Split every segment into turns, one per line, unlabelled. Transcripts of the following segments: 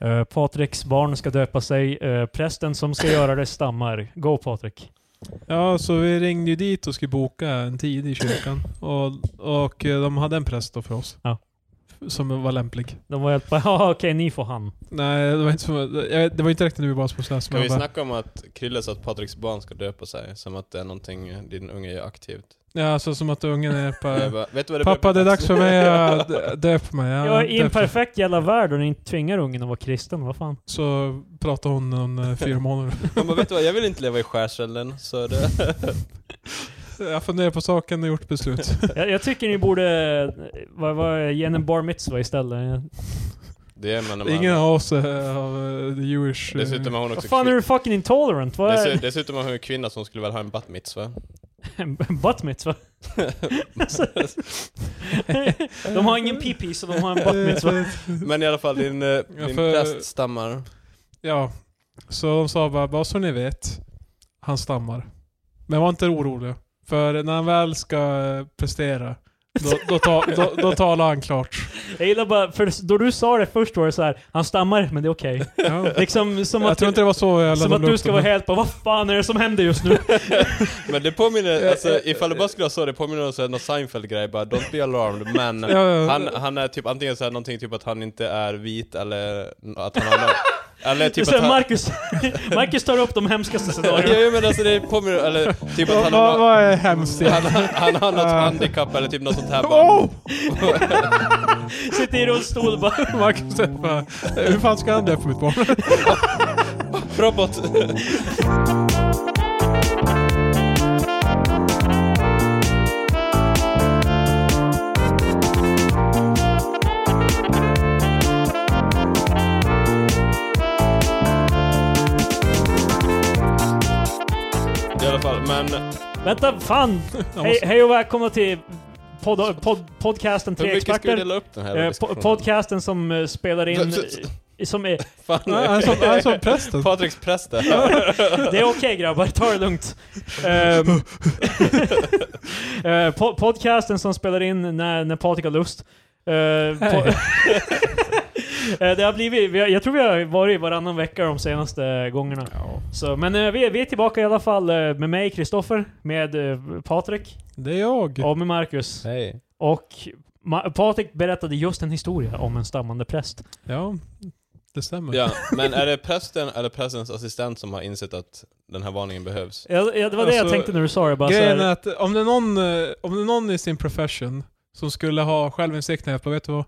Eh, Patricks barn ska döpa sig. Eh, prästen som ska göra det stammar. Go Patrik.
Ja, så vi ringde ju dit och skulle boka en tid i kyrkan. Och, och eh, de hade en präst då för oss.
Ja.
Som var lämplig.
De var helt bara, ja okej ni får han.
Nej, det var inte, som, jag vet, det var inte direkt när vi bara spolade
Kan vi snacka om att Krille sa att Patriks barn ska döpa sig? Som att det är någonting din unge gör aktivt.
Ja, alltså som att ungen är
Jag
på...
bara, vet du vad det
Pappa, det är
börjar bli
dags för mig att dö- döpa mig. Ja,
Jag är i en
döpa.
perfekt jävla värld och ni tvingar ungen att vara kristen, vad fan.
Så pratade hon om eh, fyra månader.
Han bara, vet du vad? Jag vill inte leva i skärselden. Så det...
Jag funderar på saken och gjort beslut.
Jag, jag tycker ni borde, eh, vad, vad, ge henne en bar mitzvah istället. Eh,
det är man när man...
Ingen av oss är av eh, the Jewish... eh,
Dessutom har hon
Vad
också...
fan är
kvin-
du fucking intolerant? Vad
Dessu-
är
Dessutom har hon en kvinna som skulle väl ha en bat mitzvah.
en butt mitzvah? Alltså,
eh,
de har ingen pipi så de har en butt mitzvah.
Men i alla fall, din, eh,
Ja,
din
för-
präst stammar.
Ja. Så de sa bara, bara så ni vet, han stammar. Men var inte oroliga. För när han väl ska eh, prestera, då, då, ta, då, då talar han klart.
Jag gillar bara, för då du sa det först var det så här, han stammar men det är okej.
Ja.
Liksom som
Jag
att,
tror inte det var så jag
som
laddade
att du
upp
ska
det,
vara
men-
helt bara, vad fan är det som händer just nu?
Men det påminner, alltså ifall det bara skulle ha så, det påminner om så här någon Seinfeld-grej bara, don't be alarmed, men
Ja, ja, ja.
han, han är typ antingen såhär någonting typ att han inte är vit eller att han har någon, Eller typ
så
att
här,
han...
Marcus, Marcus tar upp de hemskaste
Ja,
scenarierna.
ja, men alltså det påminner, eller typ att
Vad
han har,
vad-
nå-
vad är hemskt?
han, han, han har något handikapp eller typ något sånt här bara.
Oh!
Sitter i rullstol och bara,
Marcus är bara, hur fan ska han döpa mitt barn?
Robot! I alla fall, men
vänta, fan! Hej, hej och välkomna till pod, pod, podcasten Tre
hur mycket ska vi
Experter.
dela upp den här
Eh, po-
diskussionen?
podcasten som eh, spelar in, eh, som är,
Fan,
Han är som, han är som prästen.
Patriks präst där.
det är okej grabbar, ta det lugnt. Ehm, eh, po- podcasten som spelar in när, när Patrik har lust. Eh, po- Eh, det har blivit, vi har, jag tror vi har varit varannan vecka de senaste gångerna. Så, men eh, vi, är- vi är tillbaka i alla fall eh, med mig, Kristoffer, med eh, Patrik
Det är jag.
och med Marcus.
Hej.
Och Ma- Patrik berättade just en historia om en stammande präst.
Ja, det stämmer.
Ja, men är det prästen eller prästens assistent som har insett att den här varningen behövs?
Ja, ja, det var det jag
Alltså,
tänkte när du sa det. Bara så
Grejen
här,
är att om det är någon, eh, om det är någon i sin profession som skulle ha självinsikt när jag bara, vet du vad?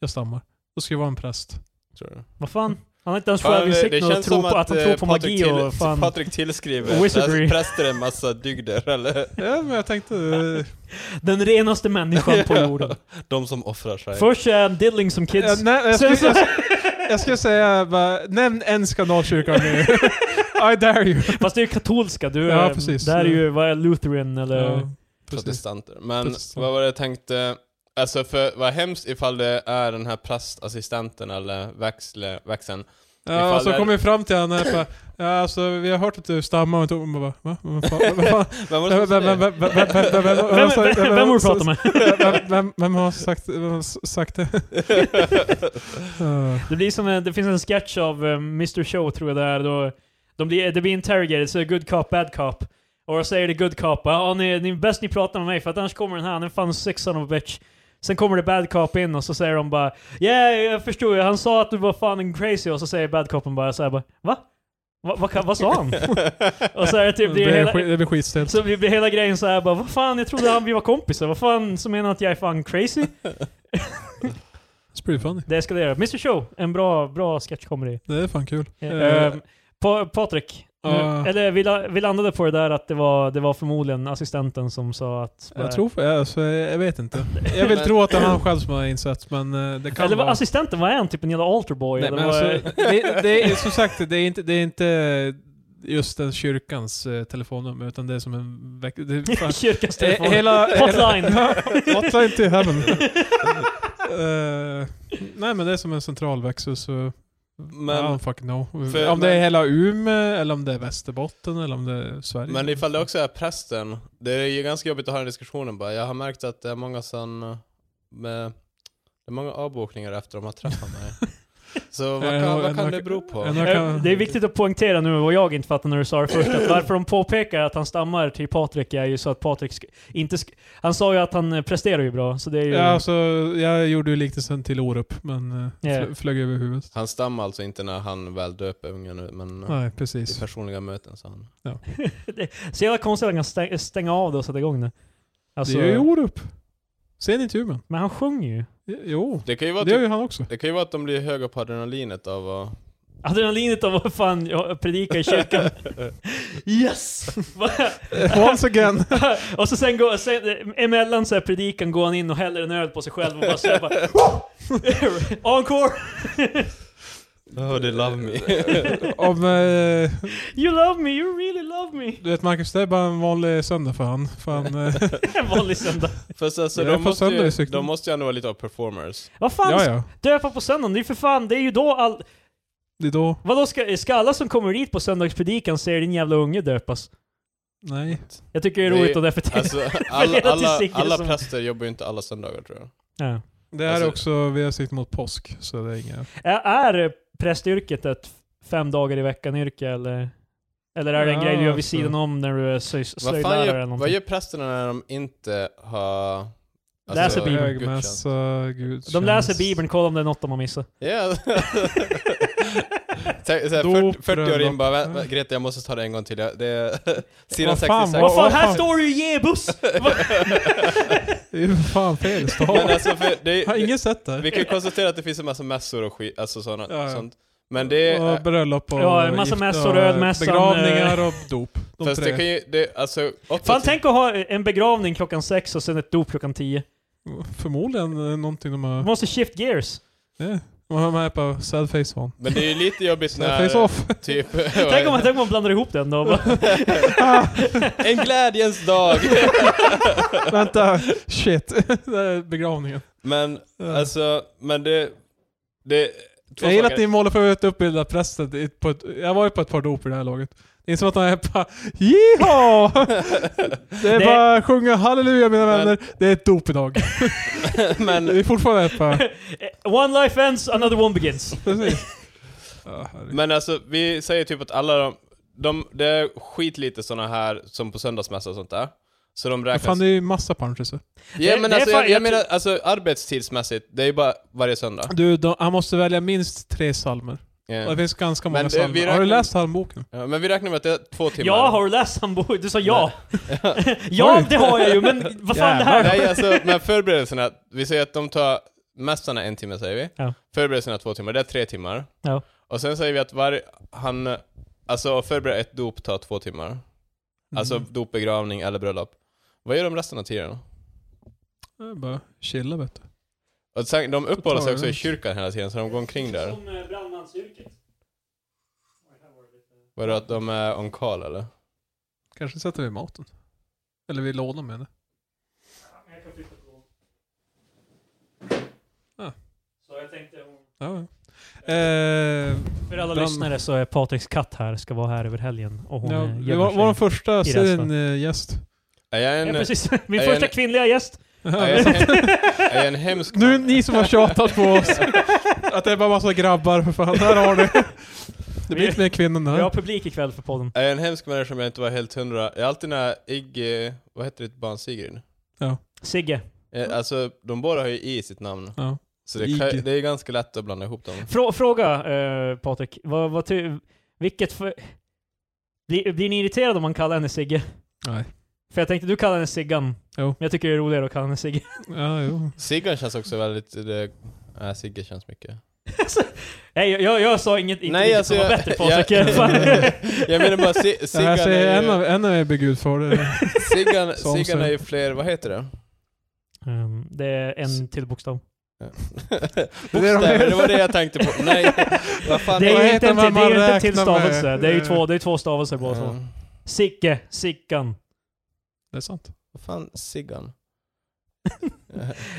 Jag stammar. Då ska jag vara en präst.
Tror du?
vad fan? Han har inte ens
Fan,
självinsikt och tror på att, han
eh,
tror på
Patrik
magi och fan...
Patrik tillskriver
Wizardry.
präst- präster en massa dygder, eller
Ja, men jag tänkte... eh,
Den renaste människan på jorden.
de som offrar sig.
Först är han diddling som
ja,
kids.
nej, jag,
Sen
skulle,
så,
jag, skulle- jag skulle säga bara, nämn en skandalkyrka nu. I dare you.
fast det är ju katolska, du
Ja,
eh,
precis.
där är ju, vad är Lutheran eller...
Ja, precis.
protestanter. Men
Protestanter.
vad var det jag tänkte? Alltså för vad hemskt ifall det är den här prästassistenten eller växle, växeln.
Ja,
ifall
och så
det-
kom vi fram till henne och bara, ja, alltså, vi har hört att du stammar och inte... Och man bara, va? Vad fan? Vad fan?
Vem var det
Vem
som sa
Vem, vem, vem, vem har du
Alltså,
det?
pratat med?
med? Vem, vem har sagt, vem har s- sagt det? Eh,
Det blir som en, det finns en sketch av eh, Mr Show tror jag där då de blir, det blir interrogated, så good cop, bad cop. Och då säger det good cop, ja ni, ni bäst ni pratar med mig för att annars kommer den här, han är fan sex son of a bitch. Sen kommer det bad cop in och så säger de bara yeah, jag förstod ju, han sa att du var fan en crazy och så säger bad copen bara såhär bara va? Va, va, vad sa han? och så är det typ, det
det, blir
är hela,
skit, det blir skitstelt.
så blir hela grejen så här bara vad fan jag trodde han, vi var kompisar, vad fan så menar han att jag är fan crazy?
It's pretty funny.
Det eskalerar. Mr Show, en bra, bra sketchcomedy.
Det är fan kul.
Eh,
Eh,
pa Patrik,
Ja.
nu, eller vi, la, vi landade på det där att det var, det var förmodligen assistenten som sa att... eh,
jag tror för, alltså, jag vet inte. Jag vill
Men-
tro att det är han själv som har insett, men eh, det kan
eller var
vara...
assistenten, vad är han? Typ en jävla alterboy?
Nej,
eller
men
vad
alltså,
är-
det, det är som sagt, det är inte, det är inte just den kyrkans eh, telefonnummer, utan det är som en... Veck, det är fan,
Kyrkans
Eh,
telefon.
hela,
Hotline.
Hotline till heaven. Eh, nej men det är som en central växel så...
Men-
I don't fucking know.
För-
om det är
men-
hela Umeå, eller om det är Västerbotten, eller om det är Sverige.
Men ifall det också är prästen, det är ju ganska jobbigt att ha den diskussionen bara. Jag har märkt eh, att det är många som... Med, det är många avbokningar efter de har träffat mig. Så vad
Eh,
kan,
en
vad kan
hack-
det bero på?
en hack- Jag kan-
Eh, Det är viktigt att poängtera nu vad jag inte fattar när du sa det först. Att varför de påpekar att han stammar till Patrik är ju så att Patrik sk- inte... Sk- han sa ju att han eh, presterar ju bra, så det är ju...
Ja, alltså, jag gjorde ju liknelsen till Orup, men eh,
Ja.
fl- flög över huvudet.
Han stammar alltså inte när han väl döper ungen nu, men eh,
Nej,
i
precis.
personliga möten sa han.
Så jävla konstigt att han kan stä- stänga av det och sätta igång det. Alltså,
Det är ju Orup. Ser ni inte Umeå?
men han sjunger ju.
Jo,
Det kan ju vara,
det gör
typ,
ju han också.
det kan ju vara att de blir höga på adrenalinet av att...
Adrenalinet av vad fan jag predikar i kyrkan. yes!
Once again.
och så sen, går, sen emellan så här predikan går han in och häller en öl på sig själv och bara så här bara... Encore!
Oh, they love me.
Om, eh,
You love me, you really love me!
du vet Marcus, det är bara en vanlig söndag för han. För han eh,
En vanlig söndag.
Fast alltså,
Det är
de,
på
måste
söndag i
ju,
cykling.
de måste ju ändå vara lite av performers.
Vad fan
ja,
ska
ja.
döpa på söndagen? Det är för fan, det är ju då all...
Det är då.
Vadå, ska, ska alla som kommer dit på söndagspredikan se din jävla unge döpas?
Nej.
Jag tycker det är
Det är-
roligt att därför tänka...
Alltså, alla,
till
alla,
Sigge
alla
som-
präster jobbar ju inte alla söndagar tror jag.
Ja.
Det här är
Alltså-
också, vi har siktat mot påsk, så det är inga...
Alltså, Är är prästyrket ett f- fem dagar i veckan-yrke eller? Eller är det en
Ja,
grej du gör vid
alltså.
sidan om när du är slöj,
Vad fan
slöjdlärare eller
gör, vad
någonting?
gör prästerna när de inte har... alltså,
Läser Bibeln.
gudstjänst?
Högmässa, gudstjänst.
De läser bibeln, kollar om det är något de har missat.
Ja. Tänk såhär,
Dop,
40, 40 år in
bröllop.
bara, "Vä- vä- Greta jag måste ta det en gång till. Jag- Det är sidan
Vad fan,
Vad
66.
vad
fan, här
fan?
står du ju Jebus!
Det är ju för fan fel
Men
stav.
alltså, för det,
Har ingen sett
vi
det?
kan ju konstatera att det finns en massa mässor och skit, alltså såna,
Ja, ja.
sånt. Men det,
Och bröllop och
Ja, en massa
gifta-
mässor, eh, ölmässan,
Begravningar och dop. De
fast
tre.
det kan ju, det, alltså...
Fan
80,
tänk att ha en begravning klockan sex och sen ett dop klockan tio.
Förmodligen eh, någonting de
Du
har...
måste shift gears.
Ja. De har med på Sad Face On.
men det är ju lite jobbigt
Sad
när...
Face Off.
Typ,
Tänk om, tänk om man blandar ihop den då.
en glädjens dag!
Vänta, shit. det är begravningen.
Men
Ja.
alltså, men det... det två
jag gillar
saker.
att ni målar för att utbilda prästen. i- På ett, jag var ju på ett par dop i det här laget. Det är som att han är bara Jiha! Det är
Det-
bara att sjunga halleluja mina
Men-
vänner. Det är ett dop idag.
men,
Det är fortfarande ett par...
one life ends, another one begins.
Precis. Ja, herregud.
men alltså, vi säger typ att alla de... de det är skitlite såna här som på söndagsmässa och sånt där. Så de
Men
räknas...
fan det är ju massa punches.
ja
Det-
men
det är
alltså,
fan-
jag, jag,
jag tror-
menar, alltså arbetstidsmässigt, det är ju bara varje söndag.
Du, de, han måste välja minst tre salmer.
Ja.
Och Det finns ganska
Men
många
det- vi
salmer. Har
räknar-
du läst psalmboken?
Ja, men vi räknar med att det är två timmar.
Ja, har du läst handboken? Du sa ja. ja,
Oj.
det har jag ju, men vad fan det här?
Nej, alltså, men förberedelserna, vi säger att de tar, mässan är en timme säger vi.
Ja.
Förberedelserna är två timmar, det är tre timmar.
Ja.
Och sen säger vi att varje, han, alltså att förbereda ett dop tar två timmar. Alltså
Mm.
dop, begravning eller bröllop. Vad gör de resten av tiden?
Det är bara chilla vet du.
Och sen, de uppehåller sig också i
Totalt.
kyrkan hela tiden, så de går omkring där.
brandmansyrket.
Var det att de är on call eller?
Kanske sätter vi maten. Eller vi lånar med det. Ah.
Så jag tänkte om...
Ja, ja. Eh,
För alla
Brand-
lyssnare så är Patriks katt här, ska vara här över helgen. Och hon
ja,
eh,
det
gömmer
var
sig.
vår första
resten.
seriengäst.
Är jag
Ja,
en, är
precis. Min
är
första
en-
kvinnliga gäst.
jag en, hem- är jag en hemsk
Nu är det ni som har tjatat på oss. Att det är bara massa grabbar för fan. Här har ni. Det blir inte mer kvinnor än det
Vi har
här.
publik ikväll för podden.
Är jag en hemsk människa som jag inte var helt hundra? Jag är alltid när Iggy, vad heter ditt barn Sigrid?
Sigge.
Eh, Alltså, de båda har ju i i sitt namn.
Ja.
Så det, kan,
Iggy.
det är ganska lätt att blanda ihop dem.
Frå, fråga eh, Patrik, vad, vad ty, vilket för... Blir, blir ni irriterade om man kallar henne Sigge?
Nej.
För jag tänkte du kallar henne Siggan.
Jo.
Men jag tycker det är roligare att kalla henne Sigge.
Ja, jo.
Siggan känns också väldigt... eh, Det, nej, Sigge känns mycket.
Nej, jag, jag, jag sa inget, inte
Nej,
Nej,
alltså,
som var
jag-
bättre Patrik.
jag-
Fan.
Jag menar bara si,
Det här
Siggan
säger
är
alltså, en av,
ju...
en av er blir gudfader.
Siggan,
Som
Siggan är
sig.
ju fler... Vad heter det?
Ehm, det är en till bokstav.
Bokstäver, det var det jag tänkte på. Nej, vad fan...
Det
vad
är ju
heter
inte en
man
till, det är
man
ju inte en till
räknar med?
stavelse. Det är ju
Eh.
två, det är två stavelser båda två.
Ja,
Sicke, Sickan.
Det är sant.
Vad fan, Eh, Siggan?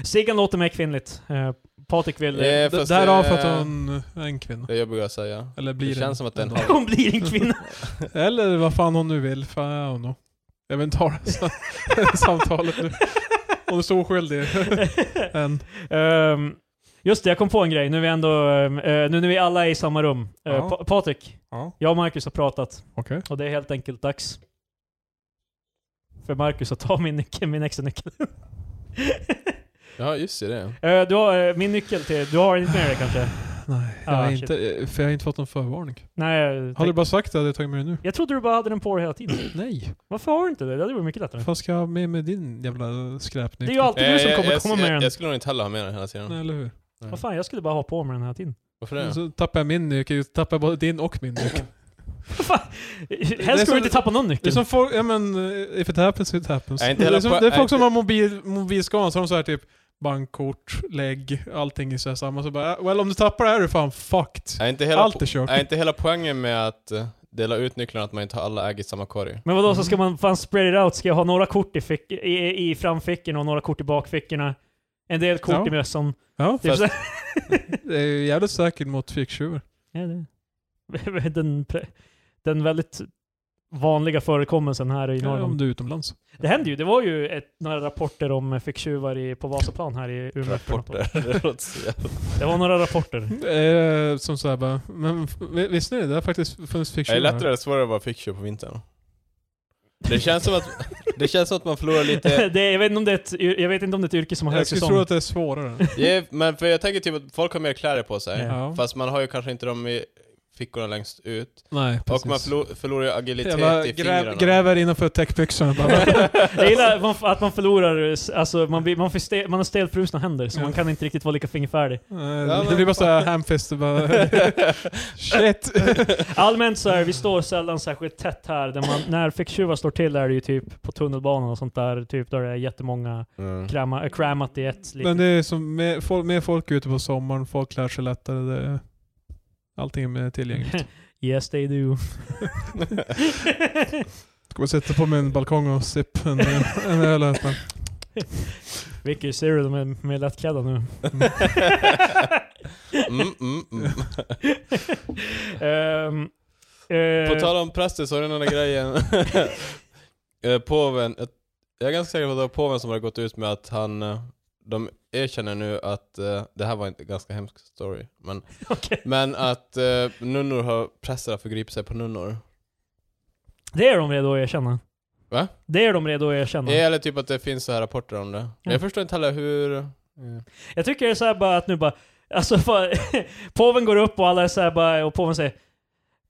Siggan låter mer kvinnligt. Eh, Patrik vill... eh,
Eh,
D-
fast
Därav för
det-
att hon är en kvinna.
Det är jobbigt att säga.
Eller blir
Det känns som att den har...
Hon blir en kvinna.
Eller vad fan hon nu vill. Fan, jag don't know. Jag vill inte ha det här samtalet nu. Hon är så oskyldig. Än.
Ehm, Just det, jag kom på en grej nu vi ändå, eh, nu när vi alla är i samma rum. Eh,
Ja.
Pa- Patrik,
Ja.
jag och Marcus har pratat
Okej.
och det är helt enkelt dags för Marcus att ta min, nyckel, min extra nyckel.
Ja, just det, det. är-
Eh, du har, eh, min nyckel till, du har inte med dig kanske?
Nej, jag
Ah,
har
shit.
inte, eh, för jag har inte fått någon förvarning.
Nej, jag,
Har du
tänk,
bara sagt det hade jag tagit med det nu.
jag trodde du bara hade den på dig hela tiden.
Nej.
Varför har du inte det? Det hade varit mycket lättare.
Vad ska jag ha med mig din jävla skräpnyckel?
Det är ju alltid du som
Eh,
kommer
jag,
komma med
jag,
den.
jag skulle nog inte heller ha med den hela tiden.
Nej, eller hur?
Vad fan, jag skulle bara ha på mig den hela tiden.
Varför det?
Så tappar jag min nyckel, tappar jag både din och min nyckel.
Vad fan?
är
Helst ska
som-
du inte tappa någon
Det är
nyckel.
som folk, ja men, eh, if it happens it happens.
Nej, inte
det,
hela
är som,
po-
det är
nej,
folk som har mobil, mobilskan, så har de så här typ bankkort, lägg, allting i så här samma. Så bara, "Äh, well om du tappar det här är du fan fucked.
Är inte, hela
Allt är
po-
kört.
är inte hela poängen med att eh, dela ut nycklarna att man inte har alla ägg i samma korg?
Men vadå, så ska
Mm.
man fan spread it out? Ska jag ha några kort i, fick, i, i framfickorna och några kort i bakfickorna? En del kort
Ja.
i mössan.
Ja,
Typ
Fast-
så-
det är ju jävligt säkert mot ficktjuvar.
Ja, det- den, pre- den väldigt vanliga förekommelsen här i
Ja, om
Norrland.
du är utomlands.
Det hände ju. Det var ju ett, några rapporter om eh, ficktjuvar i- på Vasaplan här i Umeå. för något år.
Rapporter. Det låter så jävla-
Det var några rapporter.
Eh, som såhär bara, men f- vi- visste ni det har faktiskt funnits
är det
ficktjuvar?
lättare eller svårare att vara ficktjuv på vintern? Det känns som att, det känns som att man förlorar lite...
det, jag, vet inte om det är ett, yr- jag vet inte om det är ett yrke som har
Jag
hög
skulle tro
säsong.
att det är svårare.
Ja, men för jag tänker typ att folk har mer kläder på sig.
Ja.
Fast man har ju kanske inte dem i fickorna längst ut.
Nej, precis.
Och man förlo- förlorar ju agilitet
Jävla
i
grä,
fingrarna.
gräver innanför täckbyxorna. bara. Eh,
Jag gillar man, f- att man förlorar, eh, s- alltså man, blir- man, får ste, man har stelfrusna händer så
Ja.
man kan inte riktigt vara lika fingerfärdig.
Eh, Det blir bara såhär hamfist. och Bara, shit.
Allmänt så här, vi står sällan särskilt tätt här. Där man, när ficktjuvar står till är det ju typ på tunnelbanan och sånt där, typ där det är jättemånga
Mm.
krama, äh, kramat i ett. Liksom.
Men det är som mer, folk, mer folk är ute på sommaren, folk klär sig lättare. Det, är- allting är mer tillgängligt.
Yes they do.
Ska bara sitta på min balkong och sipp en, en öl. här, men-
Vicky, ser du de är med lättklädda nu?
Mm, mm, mm.
Ehm,
På
eh,
tal om präster så är det den där grejen. Eh, påven, jag- jag är ganska säker på att det var påven som har gått ut med att han, eh, de erkänner nu att, eh, det här var en ganska hemsk story, men,
okej.
men att eh, nunnor har, präster har förgripit sig på nunnor.
Det är de redo att erkänna.
Va?
Det är de redo att erkänna.
Eller typ att det finns så här rapporter om det. Men
Ja.
jag förstår inte heller hur... eh,
Jag tycker det är så här bara att nu bara, alltså fan, påven går upp och alla är så här bara, och påven säger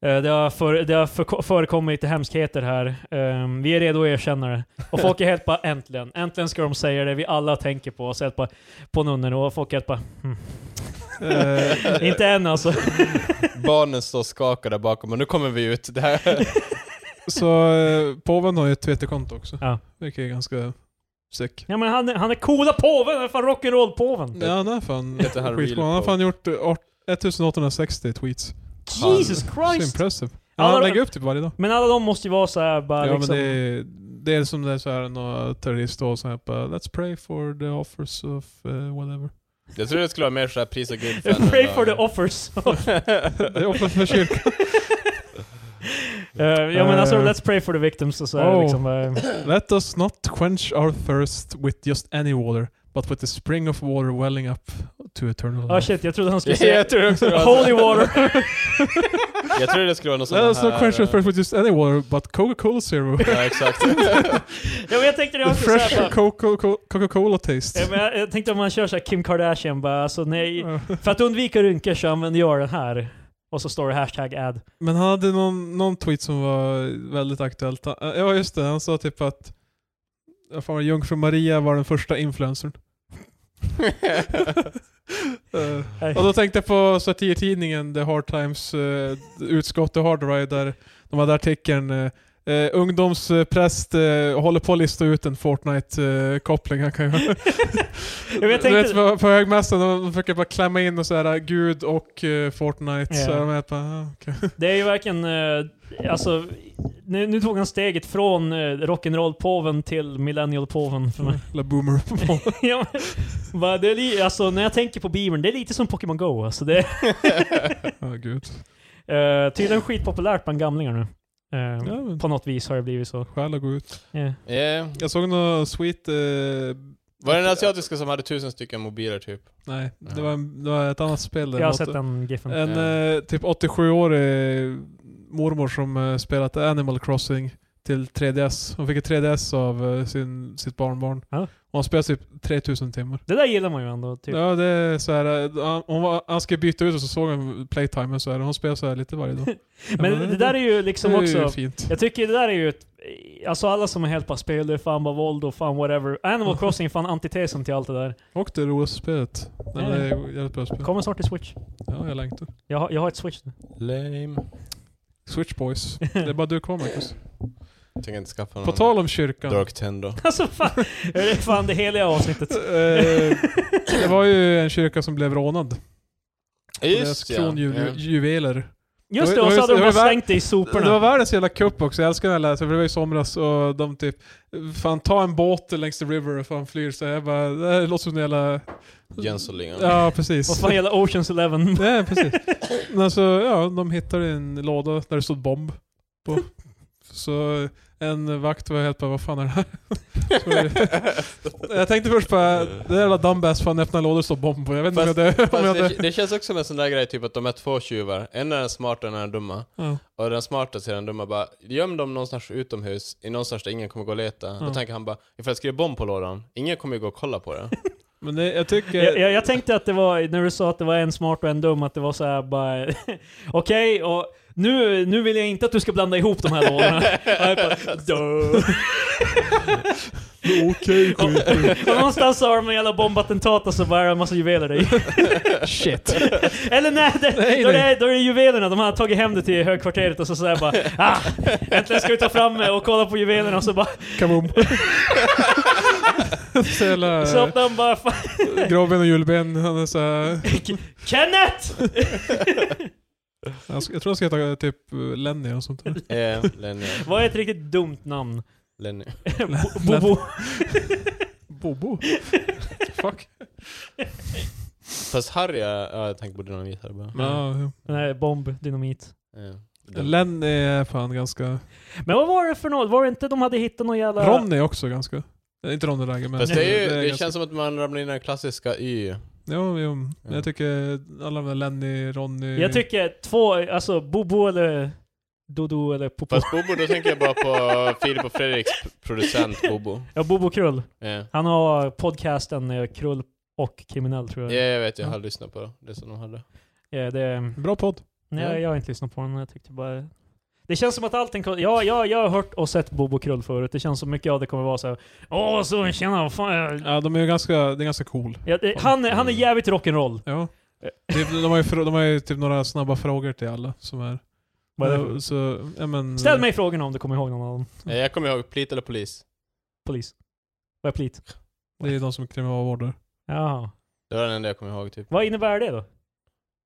"Eh, det har, för, det har för, förekommit lite hemskheter här. Ehm, vi är redo att erkänna det. Och folk är helt bara äntligen. Äntligen ska de säga det vi alla tänker på. Och så helt bara, på nunnorna. Och folk är helt bara, "Hmm,
Eh,
inte än alltså.
Barnen står skakade bakom och nu kommer vi ut. Det här.
så eh, påven har ju ett Twitterkonto också.
Ja.
Vilket är ganska sick.
Ja men han, är- han är coola påven, han är fan rock'n'roll-påven.
Ja, han är fan
Heter han
skitbra. Han har
Real
fan gjort eh, art- 1860 tweets.
Jesus
Så
Christ!
impressive. Ja,
Alla
han
de-
lägger upp typ varje dag.
Men alla de måste ju vara så här bara
Ja, men
liksom...
det, är, det är som det är så här några terrorister och sånt här. Let's pray for the offers of eh, whatever.
Jag tror det skulle vara mer så här pris och gud
Pray for the offers.
Det är offers för kyrkan.
Eh, ja men alltså,
Eh.
let's pray for the victims och så här,
Oh.
liksom. eh.
Let us not quench our thirst with just any water, but with the spring of water welling up to eternal
Ah
life.
shit, jag trodde han skulle
Ja,
säga
jag tror också det var så.
Holy water.
Jag tror det skulle vara något
Let
sånt
us not
här...
quench our
eh,
thirst with just any water, but Coca-Cola Zero.
Ja, exakt.
ja, men jag tänkte det
The
också
fresh
så här, bara,
Coca-Cola Coca-Cola taste.
Ja, men jag, jag tänkte om man kör så här Kim Kardashian bara, alltså nej.
Ja.
För att undvika rynkor så använder jag den här. Och så står det hashtag ad.
Men han hade någon, någon tweet som var väldigt aktuellt. Han- Ja just det, han sa typ att ja, fan, Jungfru Maria var den första influencern. Eh,
Nej.
Och då tänkte jag på satirtidningen The Hard Times eh, utskott The Hard Ride där de hade artikeln eh, eh, ungdomspräst eh, håller på att lista ut en Fortnite-koppling han kan göra.
Ja, men jag
Du vet
tänkte,
på, på högmässan, de försöker bara klämma in och så här, Gud och eh, Fortnite. Så
Ja.
de är bara, ah, okej.
det är ju verkligen, eh, alltså, nu, nu tog han steget från eh, rock'n'roll-påven till millennial-påven för mig.
Eller boomer.
ja, men, bara, det är li- alltså, när jag tänker på Beavern, det är lite som Pokémon Go. Alltså, det,
Ja, gud.
är, eh, tydligen skitpopulärt bland gamlingar nu. Eh,
Ja, men-
På något vis har det blivit så.
Själ att gå ut.
Yeah.
Ja,
eh, Jag såg något sweet eh,
Var det den asiatiska som hade tusen stycken mobiler typ?
Nej, det
Ja.
var, en, det var ett annat spel. där.
Jag har
Något-
sett den giffen.
En
Ja.
eh, typ 87-årig mormor som eh, spelat Animal Crossing till 3DS. Hon fick ett 3DS av eh, sin, sitt barnbarn.
Ja.
Och hon spelade typ 3000 timmar.
Det där gillar man ju ändå. Typ.
Ja, det är så här, eh, han, hon var, han ska byta ut och så såg han playtimen så här. Hon spelar så här lite varje dag. Ja,
Men det där är ju liksom
det är ju
också...
fint.
Jag tycker det där är ju ett... Alltså alla som är helt bara spel, det är fan bara våld och fan whatever. Animal Crossing är fan antitesen till allt det där.
Och det roligaste spelet. Nej, men det är ju jävligt bra spel.
Kommer snart till Switch.
Ja, jag längtar.
Jag har, jag har ett Switch nu.
Lame.
Switch Boys. Det är bara du kvar Marcus.
Jag tänker inte skaffa någon
På tal om kyrkan.
Dark Tendo.
Alltså fan, det är fan det heliga avsnittet.
Eh, det var ju en kyrka som blev rånad.
Just
Deras
ja.
kronjuveler.
ja.
Just
Det
det,
var-
och
det
så
var-
hade de
det
bara
var vär-
slängt det i
Det var
soporna.
världens jävla kupp också, jag älskar den här läsaren, för det var i somras och de typ Fan ta en båt längs the river och fan flyr så jag bara, det här låter som en jävla...
Jönssonligan.
Ja
Vad
precis.
fan gäller Oceans Eleven?
Nej precis. Men alltså, ja, de hittade en låda där det stod bomb på. Så en vakt var helt bara, vad fan är det här? Så- jag tänkte först bara, det där jävla dumbass fan öppna lådor och står bomb på. Jag vet inte om jag
Fast-
dö- om jag
Fast
dö-
det, det känns också som en sån där grej, typ att de är två tjuvar. En är den smarta och en är den dumma.
Ja.
Och den smarta säger den dumma bara, göm dem någonstans utomhus, i någonstans där ingen kommer gå och leta.
Ja.
Då tänker han bara, ifall jag skriver bomb på lådan, ingen kommer ju gå och kolla på det.
Men det, jag tycker...
Jag, jag, jag tänkte att det var, när du sa att det var en smart och en dum, att det var så här bara... Okej, och nu, nu vill jag inte att du ska blanda ihop de här lådorna. Och jag bara, duh.
Okej
och någonstans så har de en jävla bombattentat och så bara är det en massa juveler där i.
Shit.
Eller nej, det,
Nej,
då,
nej.
Är, då är det juvelerna. De har tagit hem det till högkvarteret och så sådär bara ah, Äntligen ska vi ta fram eh, och kolla på juvelerna och så bara
Kaboom. så jävla eh,
Så öppnar de bara fan,
gråben och julben. Han är så här,
Kenneth!
han ska- jag tror han ska heta typ Lenny och sånt där.
Eh, Lenny.
Vad är ett riktigt dumt namn?
Lenny.
Bo- Bobo.
Bobo. Fuck.
Fast Harry, är- ja, jag tänker på dynamit här bara.
Ja, ja.
Nej, bomb, dynamit.
Eh, den-
Lenny är fan ganska...
Men vad var det för något? Var det inte de hade hittat någon jävla...
Ronny är också ganska... eh, Inte Ronny Ragge men...
Fast det, är ju, det,
ganska-
känns som att man ramlar in i den klassiska Y.
Jo, jo. Men Jag tycker alla de där Lenny, Ronny...
Jag tycker två, alltså Bobo eller Dodo eller Popo.
Fast Bobo, då tänker jag bara på Filip och Fredriks p- producent Bobo.
Ja, Bobo Krull.
Eh.
Han har podcasten eh, Krull och Kriminell tror
Ja,
jag.
jag vet, jag har
Ja.
lyssnat på det som de hade.
Ja, det,
Bra podd.
nej,
Ja.
jag har inte lyssnat på den, jag tyckte bara... Det känns som att allting kom, ja, ja, jag har hört och sett Bobo Krull förut, det känns som mycket av det kommer vara så här. Åh, så tjena, vad fan. jag-"
Ja, de är ju ganska... Det är ganska cool.
Ja, det, han, är- han är jävligt rock'n'roll.
Ja. Typ, de, har ju, frå- de har ju typ några snabba frågor till alla som är... Eh,
Vad är det
Mm.
för-
Så, ja, men,
Ställ mig frågorna om du kommer ihåg någon av dem.
Eh, Jag kommer ihåg Plit eller Polis.
Polis. Vad är plit?
Det är de som är kriminalvårdare.
Jaha.
Det var den enda jag kommer ihåg typ.
Vad innebär det då?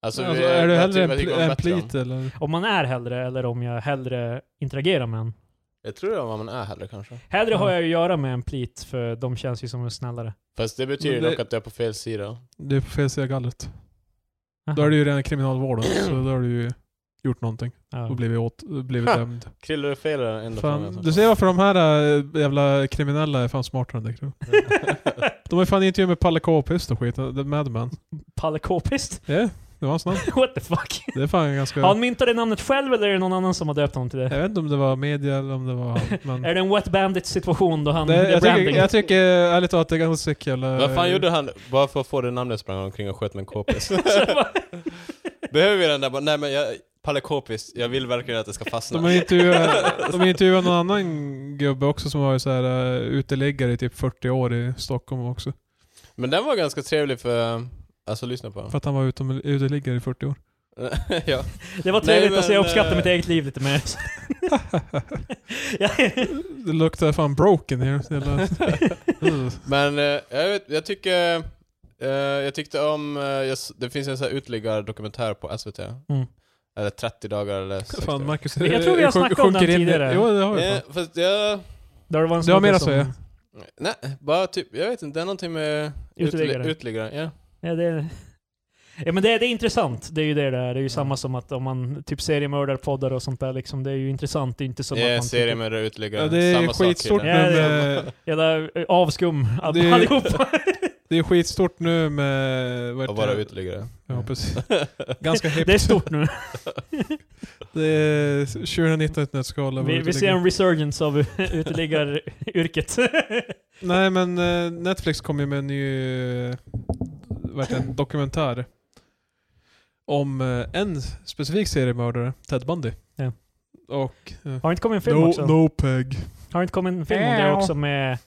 Alltså,
alltså,
vi-
är du
jag
hellre
tycker-
en,
jag tycker
pl-
de är
en
bättre än.
plit eller?
Om man är hellre eller om jag hellre interagerar med en.
Jag tror det var vad man är hellre kanske.
Hellre
Ja.
har jag att göra med en plit för de känns ju som en snällare.
Fast det betyder
Men det-
dock att du är på fel sida.
Du är på fel sida gallret. Då är du ju redan i kriminalvården, så då har du ju gjort någonting
Ja.
och blivit, åt, blivit
Ha.
dömd.
Krille och fel är den enda
Fan,
frågan.
du ser varför de här äh, jävla kriminella är fan smartare än dig. tror jag. De har ju fan intervju med Palle K-pist och skit, The Madman.
Palle K-pist?
Ja, det var hans namn.
What the fuck?
Det är fan ganska...
Har han myntat det namnet själv eller är det någon annan som har döpt honom till det?
Jag vet inte om det var media eller om det var han, men...
Är det en wet bandit situation då han...
Det,
Det,
jag,
branding?
tycker, jag tycker ärligt talat det är ganska sick jävla...
Vad fan gjorde han? Bara för att få det namnet sprang han omkring och sköt med en k-pist.
Så bara-
Behöver vi den där? Bara, Nej men jag... Palle K-pist, jag vill verkligen att det ska fastna.
De har intervjuat, de har intervjuat någon annan gubbe också som har varit så här eh, uteliggare i typ 40 år i Stockholm också.
Men den var ganska trevlig för... Alltså lyssna på den.
För att han var utom, uteliggare i 40 år.
ja.
det var
Nej,
trevligt att
men,
se, jag uppskattar
eh,
mitt eget liv lite mer.
Det luktar fan broken here. Jävla, Mm. Ugh.
Men eh, jag, vet, jag tycker... eh, jag tyckte om... eh, jag, s- det finns en sån här utliggare dokumentär på SVT. Eller 30 dagar eller 60
Mm. fan Marcus,
Jag tror vi har
sjunk-
snackat om den
sjunker in i-
tidigare.
Jo det har vi
Eh,
fan.
fast jag...
Där var en
Du har mer
snubbe
att
som-
säga?
Nej, bara typ... Jag vet inte, det är någonting med... utli-
Uteliggare.
Uteliggare, ja.
Ja, det, Ja, men det, det är intressant. Det är ju det där. Det är ju samma som att om man typ seriemördarpoddar och sånt där liksom. Det är ju intressant. Det är inte som att
Jag
man...
ser det
tycker-
med det uteliggare.
Ja, det är
Samma sak
skitstort
killen.
killen. Ja, det
nu med,
Jävla eh, avskum
Det-
allihopa.
det är skitstort nu med... Vad
Att vara
heter det?
uteliggare.
Ja, precis. Ganska hippt.
Det är stort nu.
Det är 2019 ett nötskal. vad
Vi,
det
vi ser
ligger.
en resurgence av uteliggaryrket.
Nej men eh, Netflix kom ju med en ny eh, vad heter det, en dokumentär om eh, en specifik seriemördare, Ted Bundy.
Ja.
Och... eh,
Har inte kommit en film också?
peg.
Har inte kommit en film om det
Ew.
också med...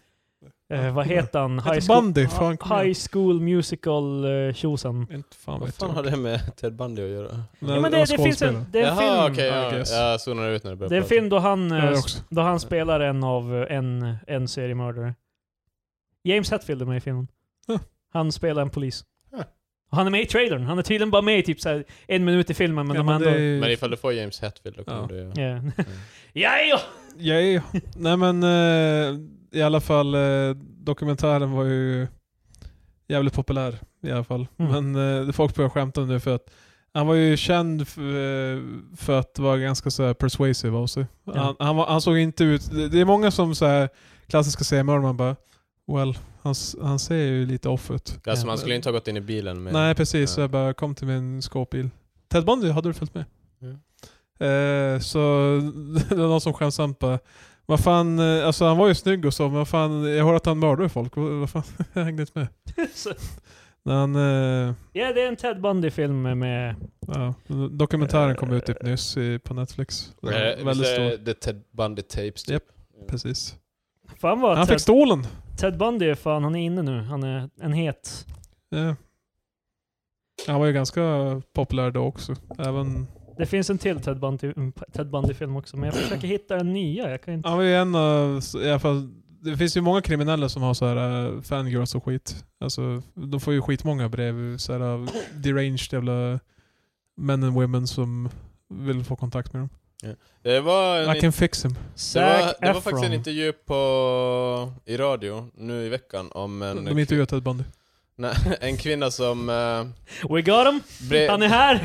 Eh, vad heter han?
Ted
School-
Bundy, fan.
High School Musical eh, tjosan.
Inte fan
Vad
vet
fan har
jag.
det med Ted Bundy att göra?
Nej,
Ja, men det, det finns en, det är en
Jaha,
film.
okej.
I
ja,
guess.
jag zonade ut när det började
Det är en
prata.
film då han, eh,
Ja, jag också.
då han spelar en av eh, en, en seriemördare. James Hetfield är med i filmen.
Huh.
Han spelar en polis.
Huh.
Och Han är med i trailern. Han är tydligen bara med i typ så här en minut i filmen, men
Ja,
de ändå...
det är-
Men ifall du får James Hetfield då kommer
Ja.
du...
Yeah. ja, ja.
Ja, ja. Nej men eh, i alla fall eh, dokumentären var ju jävligt populär i alla fall.
Mm.
Men eh, folk börjar skämta nu för att han var ju känd f- eh, för att vara ganska så här persuasive av sig.
Ja.
Han, han, var, han såg inte ut... Det, det är många som så här klassiska seriemördare, man bara well, han, s- han ser ju lite off ut.
Alltså man skulle inte ha gått in i bilen med... Eh,
Nej precis,
Ja.
så jag bara kom till min skåpbil. Ted Bundy hade du följt med?
Ja.
Eh, så det var någon som skämtsamt bara vad fan, eh, alltså han var ju snygg och så, men vad fan, jag hörde att han mördade folk. Vad vad fan, jag hängde inte med.
Så-
När han, eh,
ja, det är en Ted Bundy-film med...
ja, dokumentären kom ut typ nyss i, på Netflix. Den var
Eh,
väldigt
visst är
stor.
Det Ted Bundy Tapes typ.
Japp. Precis.
Fan vad
Han
Ted,
fick stolen!
Ted Bundy är fan, han är inne nu. Han är en het...
Ja. Han var ju ganska populär då också. Även,
Det finns en till Ted Bundy- mm, Ted Bundy-film också, men jag försöker hitta den nya. Jag kan inte...
han var ju en av, i alla fall, det finns ju många kriminella som har så här eh, fangirls och skit. Alltså, de får ju skitmånga brev, så här av deranged jävla men and women som vill få kontakt med dem.
Det var en
I can fix him.
Det var,
Zac
det var faktiskt en
Efron.
intervju på, i radio nu i veckan om en,
De intervjuar Ted Bundy.
nej, en kvinna som, eh,
We got him!
brev,
Han är här!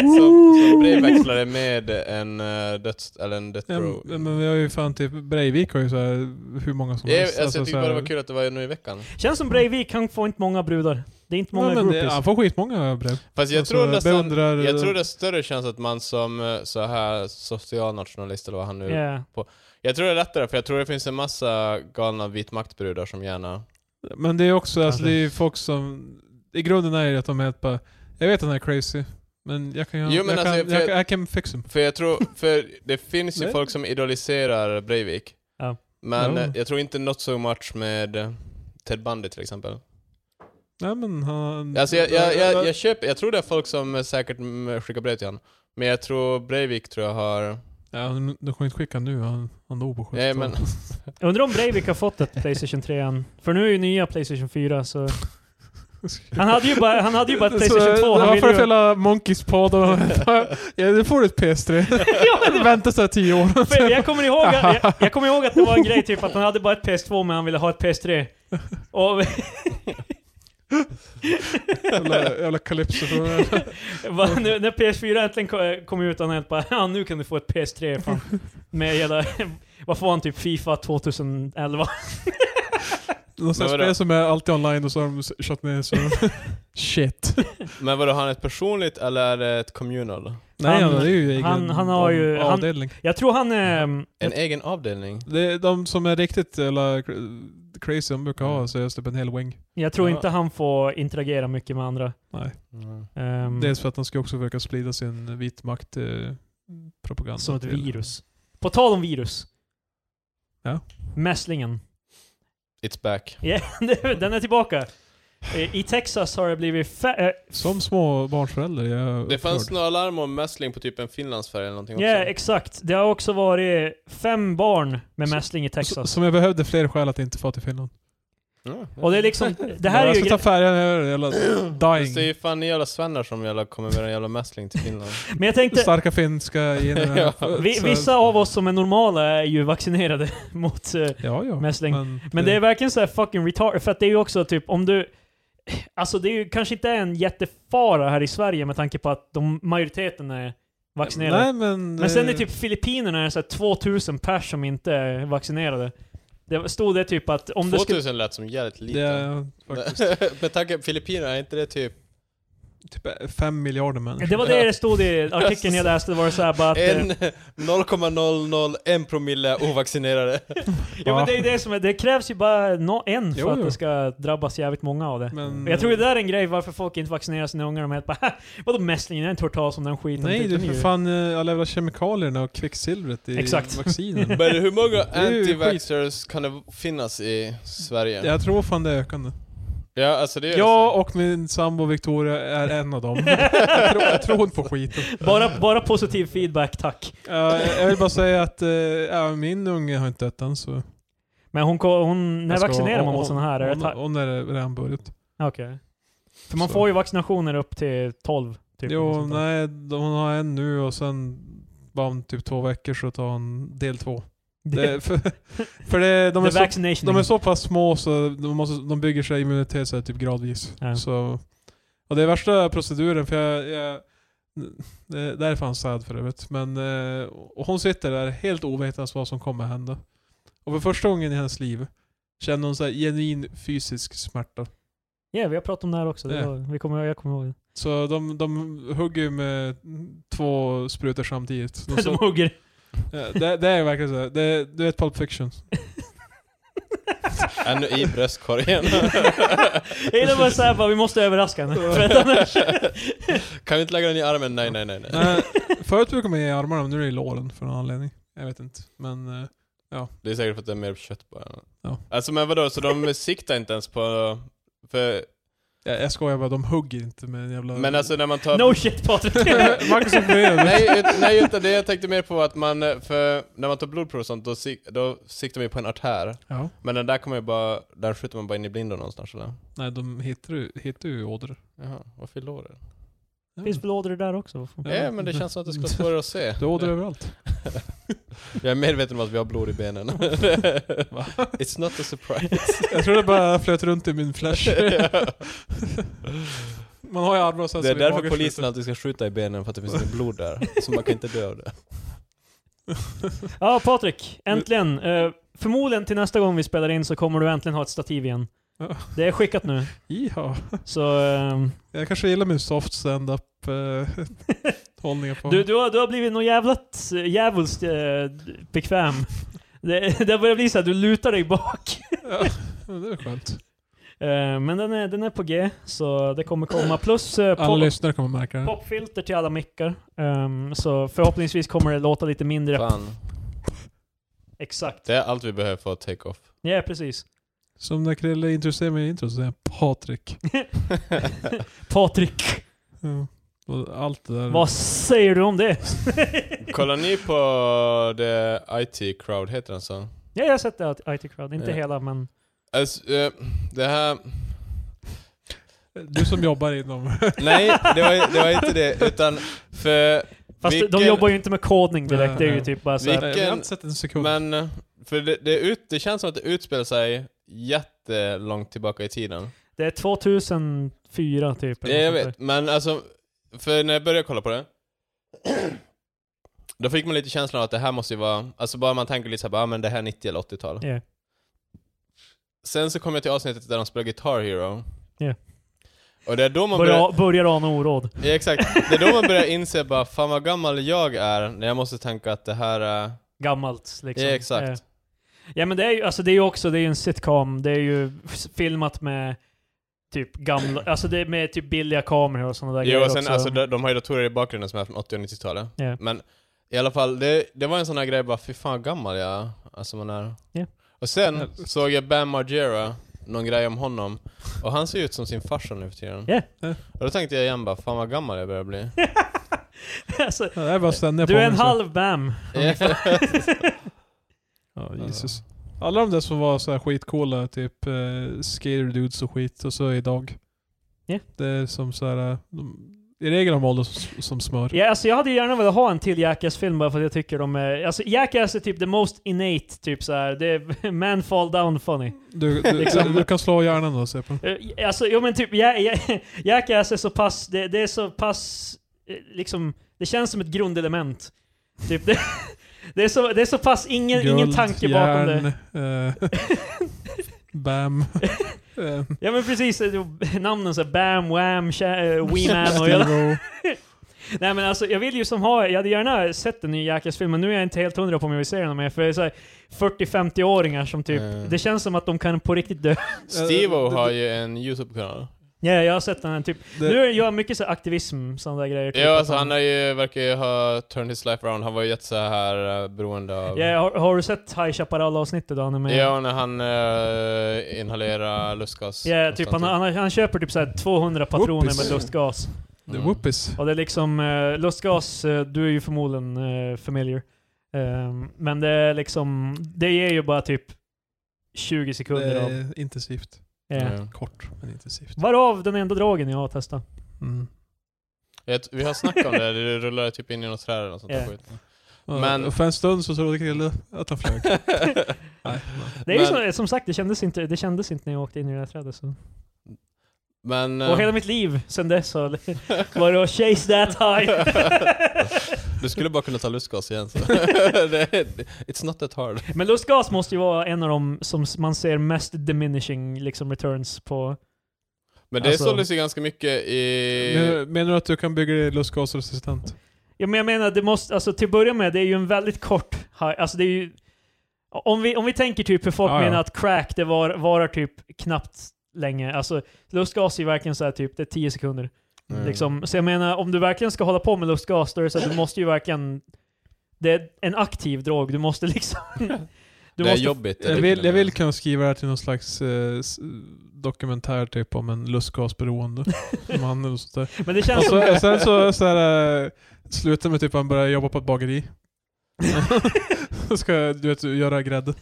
som, som brevväxlade med en eh, döds... eller en death
Ja,
row.
men men vi har ju fan typ Breivik har ju så här, hur många som
Jag,
helst.
alltså, jag tyckte
så
bara det
här-
var kul att det var nu i veckan.
Känns som Breivik, han får inte många brudar. Det är inte många
Ja, men det,
groupies.
han får skitmånga brev.
Fast jag
Alltså,
tror nästan...
beundrar,
Jag tror det är större chans att man som eh, så här socialnationalist eller vad han nu...
Yeah.
Jag tror det är lättare för jag tror det finns en massa galna vitmaktbrudar som gärna...
Men det är också, alltså,
Ja,
det
det-
är ju folk som... I grunden är det att de är helt bara, jag vet att han är crazy, men jag kan...
Jo,
jag,
men
kan,
alltså,
jag,
för-
kan- I can fix him.
För jag tror, för det finns ju
Nej.
folk som idoliserar Breivik.
Ja.
Men
Ja.
eh, jag tror inte not so much med eh, Ted Bundy till exempel.
Nej men han...
Alltså jag, jag, jag, jag, köper, jag tror det är folk som eh, säkert mm, skickar brev till honom. Men jag tror Breivik tror jag har...
Ja, men du kommer inte skicka nu, han, han dog på 70
Nej, men-
Jag undrar om Breivik har fått ett Playstation 3 än. För nu är ju nya Playstation 4 så... Han hade ju bara, han hade ju bara ett Playstation 2. Han
Han
ville
får
ju...
spela Monkeys podd och... ja, du får ett PS3. Vänta såhär 10 år.
För Jag kommer, ihåg att, jag, jag kommer ihåg att det var en grej typ att han hade bara ett PS2 men han ville ha ett PS3. Och
jävla, jävla Calypso.
va, nu, när PS4 äntligen ko- kom ut han helt bara ja nu kan du få ett PS3 fan. Med hela... Vad får han typ? Fifa 2011?
Något sånt
Men vadå?
spel som är alltid online och så har de kört ner så... Shit.
Men vadå, har han ett personligt eller är det ett communal?
Nej,
Han-
han, det är ju egen
han- han har ju- han-
avdelning.
Jag tror han... ehm,
En egen avdelning?
Det är de som är riktigt eller, crazy, de brukar
Mm.
ha seriöst typ en hel wing.
Jag tror
Ja.
inte han får interagera mycket med andra.
Nej.
Mm.
Ehm,
Dels för att de ska också försöka sprida sin vit makt eh, propaganda.
som ett
till-
virus. På tal om virus.
Ja.
Mässlingen.
It's back.
Ja, den är tillbaka. Eh, I Texas har det blivit fe- eh,
Som små barnförälder. Jag
Det fanns några larm om mässling på typ en finlandsfärja eller någonting
Ja,
också.
exakt. Det har också varit fem barn med mässling i Texas.
Som jag behövde fler skäl att inte få till Finland.
Ja.
Och det är liksom, det här är
jag
ju
ska ta
gre-
färjan över jävla
Fast Det är
dying.
ju fan ni jävla svennar som jävla kommer med en jävla mässling till Finland.
Men jag tänkte,
Starka finska generna.
Ja.
vi,
Så-
vissa av oss som är normala är ju vaccinerade mot eh,
Ja, ja.
Mässling.
Men,
Men det är verkligen så här fucking retard. För att det är ju också typ om du... alltså det är ju kanske inte en jättefara här i Sverige med tanke på att de, majoriteten är vaccinerade.
Nej men...
Men sen
eh,
i typ Filippinerna är det så här 2000 pers som inte är vaccinerade. Det stod det typ att om det
2000
skulle...
lät som jävligt
Det
lite.
är faktiskt
Med tanke på Filippinerna, är inte det typ...
typ fem miljarder människor.
Det var det det stod i artikeln jag läste, det var så här bara att... eh,
En 0,001 promille ovaccinerade.
Ja men det är det som är, det krävs ju bara nå- en för
Jo,
att
jo.
det ska drabbas jävligt många av det.
Men,
Men jag tror det där är en grej varför folk inte vaccinerar sina ungar. De är helt bara "Haha, vadå mässlingen? Jag har inte hört talas om den skiten.
Nej,
Typ,
det är
den
för
ju-
fan eh, alla jävla kemikalierna och kvicksilvret i
Exakt.
vaccinen.
Men hur många
Det är ju
anti-vaxxers kan det finnas i Sverige?
jag tror fan det är ökande.
Ja, alltså det är
Jag och min sambo Victoria är en av dem. jag, tror, jag tror inte på skiten.
bara, bara positiv feedback, tack.
Eh, jag vill bara säga att eh, ja, min unge har inte dött än så...
Men hon, ko- hon när
jag ska-
vaccinerar man
hon-
mot sådana här? Är det
Hon,
ta-
hon är redan börjat.
Okej. För man
Så.
får ju vaccinationer upp till 12. Typ, eller
Jo,
sånt där.
nej, de- hon har en nu och sen bara om typ två veckor så tar hon del två. Det, för för det, de,
The
är så,
vaccination.
de är så pass små så de, måste, de bygger sig immunitet så här, typ gradvis.
Ja.
Så, och det är värsta proceduren för jag... jag det, det här är fan sad för övrigt. Men eh, och hon sitter där helt ovetandes vad som kommer hända. Och för första gången i hennes liv känner hon så här, genuin fysisk smärta.
Ja, vi har pratat om det här också. Det
Ja.
var, vi kommer, jag kommer ihåg det.
Så de, de hugger ju med två sprutor samtidigt. De
De
så,
hugger.
ja, det, det är verkligen så. här. Det, du vet Pulp Fiction?
Ännu i bröstkorgen.
Jag gillar bara såhär bara, vi måste överraska henne. För att annars...
kan vi inte lägga den i armen? Nej, nej, nej. nej.
Nej, förut brukade man ge i armarna, men nu är det i låren för någon anledning. Jag vet inte. Men eh,
Det är säkert för att det är mer kött bara.
Ja.
Alltså men vadå, så de siktar inte ens på... För,
jag, jag skojar bara, de hugger inte med en jävla...
men alltså när man tar...
No shit Patrik!
Marcus är med.
nej, ut, nej, utan det jag tänkte mer på var att man, eh, för när man tar blodprov och sånt, då, sik, då siktar man ju på en artär.
Ja.
Men den där kommer ju bara, den skjuter man bara in i blindo någonstans eller?
Nej, de hittar ju, hittar ju ådror.
Jaha, vad fyllde året?
Ja.
Finns väl ådror där också? vad fan?
Ja.
Ja. Eh, men det känns som att det skulle vara svårare att se.
Det är ådror överallt.
Jag är medveten om att vi har blod i benen. It's not a surprise.
Jag tror det bara flöt runt i min flash. Man har ju armar och sen
Det
så
är
vid
därför
magerslutet.
polisen alltid ska skjuta i benen för att det finns inget blod där. Så man kan inte dö av det.
Ja Patrik, äntligen! Eh, förmodligen till nästa gång vi spelar in så kommer du äntligen ha ett stativ igen.
Ja.
Det är skickat nu.
Iha.
Så ehm,
Jag kanske gillar min soft stand-up eh, hållningar på.
du, du, har, du har blivit något jävligt jävligt eh, bekväm. Det, det börjar bli så här, du lutar dig bak.
Ja, men det är skönt.
Eh, men den är, den är på G, så det kommer komma. Plus eh,
Alla
pop,
lyssnare kommer märka det.
popfilter till alla mickar. Ehm, så förhoppningsvis kommer det låta lite mindre.
Fan.
Exakt.
Det är allt vi behöver för att take off.
Ja, precis.
Som när Krille introducerar mig i intro så säger han Patrik.
Patrik,
Ja. Och allt
Mm.
det där.
vad säger du om det?
Kollar ni på The IT Crowd, heter den så?
Ja, jag har sett det, IT Crowd. Inte
Ja.
hela, men...
Alltså, eh, det här...
Du som jobbar inom...
Nej, det var, det var inte det. Utan för...
Fast
Vilken-
de jobbar ju inte med kodning direkt, det är ju
Nej.
typ bara så här.
Vilken-
Jag har inte sett en sekund.
Men... eh, För det, det, ut, det känns som att det utspelar sig jättelångt tillbaka i tiden.
Det är 2004 typ.
Ja,
eller
jag
något sånt
vet. Men alltså, för när jag började kolla på det, då fick man lite känslan av att det här måste ju vara, alltså bara man tänker lite såhär, ah, men det här är 90 eller 80-tal.
där. Ja.
Sen så kom jag till avsnittet där de spelar Guitar Hero.
Ja.
Och det är då man börjar,
Börjar, börjar ana oråd.
ja, exakt, det är då man börjar inse bara, fan vad gammal jag är, när jag måste tänka att det här är,
Gammalt liksom.
ja exakt.
Ja. Ja men det är ju, alltså det är ju också, det är ju en sitcom. Det är ju f- filmat med typ gamla, alltså det är med typ billiga kameror och sådana där
Jo,
grejer
och sen,
också.
alltså, de, de har ju datorer i bakgrunden som är från 80 och 90-talet.
Ja.
Men i alla fall, det, det var en sån här grej bara, fy fan vad gammal jag är. Alltså man är.
Ja.
Och sen såg jag Bam Margera, någon grej om honom. Och han ser ju ut som sin farsa nu för tiden.
Ja.
Ja.
Och då tänkte jag igen bara, fan vad gammal jag börjar bli.
Alltså,
Ja, det är bara ständiga
du är en
påminnelser.
halv BAM.
Ja, Jesus. Alla de där som var så här skitcoola, typ eh, skater dudes och skit, och så idag.
Ja.
Det är som så här, eh, de, I regel har Moldo som, som smör.
Ja, alltså jag hade ju gärna velat ha en till Jackass-film bara för att jag tycker de är... Alltså Jackass är typ the most innate, typ så här. Det är man fall down funny.
Du, du,
Liksom.
du kan slå hjärnan och se på den.
Eh, Alltså, jo men typ, ja, ja, Jackass är så pass, det, det är så pass, eh, liksom, det känns som ett grundelement. Typ det, det, är, så, det är så pass ingen, ingen
Guld,
tanke bakom det.
järn, eh, Bam. eh,
Ja men precis, eh, det- namnen såhär Bam, Wham, Sha- eh, Wee Man och hela...
Steve-O.
Nej men alltså jag vill ju som ha, jag hade gärna sett en ny Jackass-film men nu är jag inte helt hundra på om jag vill se den mer för det är så här 40-50-åringar som typ,
Mm.
det känns som att de kan på riktigt dö.
Steve-O
Eh, det-
har ju en YouTube-kanal.
Ja, jag har sett den här typ.
Det-
Nu är jag mycket så här aktivism, sådana där grejer. Typ,
Ja,
att
alltså han har ju, verkar ju ha turned his life around. Han var ju jätte så här eh, beroende av...
Ja, har, har du sett High Chaparral-avsnittet då han är med?
Ja, och när han eh, inhalerar lustgas.
Ja, typ han, han, han köper typ så här 200 patroner
Whoopies.
med lustgas.
The
Mm.
Whoopies.
Och det är liksom, eh, lustgas, eh, du är ju förmodligen eh, familiar. Ehm, men det är liksom, det ger ju bara typ 20
Det
sekunder av...
är intensivt.
ja.
Ja.
Kort, men intensivt.
Varav den enda dragen jag har testat.
Mm.
Jag vet- Vi har snackat om det, det rullar typ in i något träd eller något sånt där
Ja.
skit. Men-
Men... För en stund så trodde Krille att han flög. Nej,
Det är ju
Men-
som, som sagt, det kändes, inte, det kändes inte när jag åkte in i det här trädet. Så.
Men...
Och
eh,
hela mitt liv sen dess har var det att chase that high.
du skulle bara kunna ta lustgas igen så. det, it's not that hard.
Men lustgas måste ju vara en av de som s- man ser mest diminishing liksom returns på.
Men det
Alltså-
såldes ju ganska mycket i...
Menar, menar du att du kan bygga dig lustgasresistent?
Ja, men jag menar, det måste, alltså till att börja med, det är ju en väldigt kort high. Alltså det är ju, om, vi, om vi tänker typ hur folk
Ja, ja.
menar att crack, det var, varar typ knappt länge. Alltså lustgas är ju verkligen så här typ, det är 10 sekunder.
Mm.
Liksom. Så jag menar, om du verkligen ska hålla på med lustgas, då är det så att du måste ju verkligen... Det är en aktiv drog, du måste liksom... Du
det är
måste,
jobbigt. det är
Jag vill,
kul.
jag vill kunna skriva det här till någon slags eh, s- dokumentär typ om en lustgasberoende man eller sånt där.
men det känns som...
Och så, och sen så, så här, eh, slutar med typ att han börjar jobba på ett bageri. Så ska jag, du vet, göra grädde.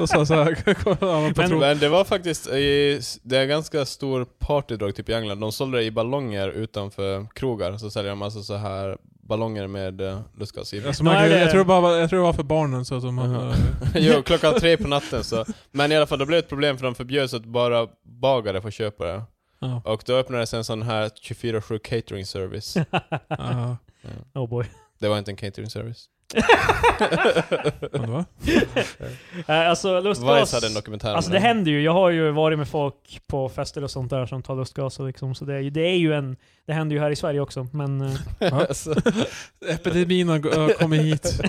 Och så, så här, kollar han på
Men-
tro-
Men det var faktiskt, i, det är ganska stor partydrog typ i England. De sålde det i ballonger utanför krogar. Så säljer de alltså så här ballonger med eh, lustgas i.
alltså man,
Nej,
kan-
det-
jag, tror bara, var- jag tror det var för barnen så eh, att de
Jaha.
hade,
jo, klockan tre på natten så. Men i alla fall, då blev det ett problem för de förbjöd så att bara bagare får köpa det.
ja,
Och då öppnades en sån här 24-7 catering service.
ja,
oh boy.
Det var inte en catering service.
men va?
Eh, alltså
Vice
lustgas...
hade en dokumentär om
Alltså det
det.
händer ju. Jag har ju varit med folk på fester och sånt där som tar lustgas och liksom, så det är ju, det är ju en... Det händer ju här i Sverige också, men... eh,
Va?
Alltså,
Epidemin har g- har kommit hit.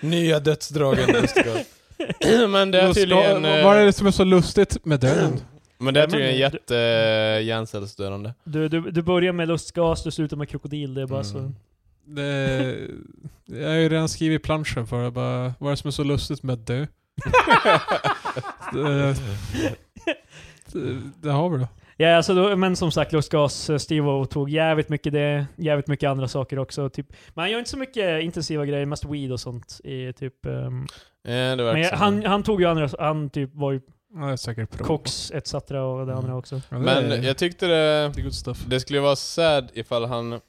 Nya dödsdragen lustgas. Men det är
Lustga-
tydligen... eh,
Vad är det som är så lustigt med döden?
Men det är
Ja, men
tydligen
det-
jätte eh, hjärncellsstörande.
Du, du, du börjar med lustgas, du slutar med krokodil, det är bara så...
Mm.
Det, jag har ju redan skrivit planschen för det. Bara, vad är det som är så lustigt med att dö? det, det, det har vi då.
Ja, alltså då, men som sagt, lustgas, eh, Steve-O tog jävligt mycket det, jävligt mycket andra saker också. Typ. Men han gör inte så mycket intensiva grejer, mest weed och sånt. I, typ, ehm,
Ja,
men
det verkar
jag,
som-
han, han tog ju andra, han typ var ju
Ja, det är säkert bra.
koks etc. och det andra också.
Ja, det
Men
är-
jag tyckte det,
det är good stuff.
det skulle vara sad ifall han...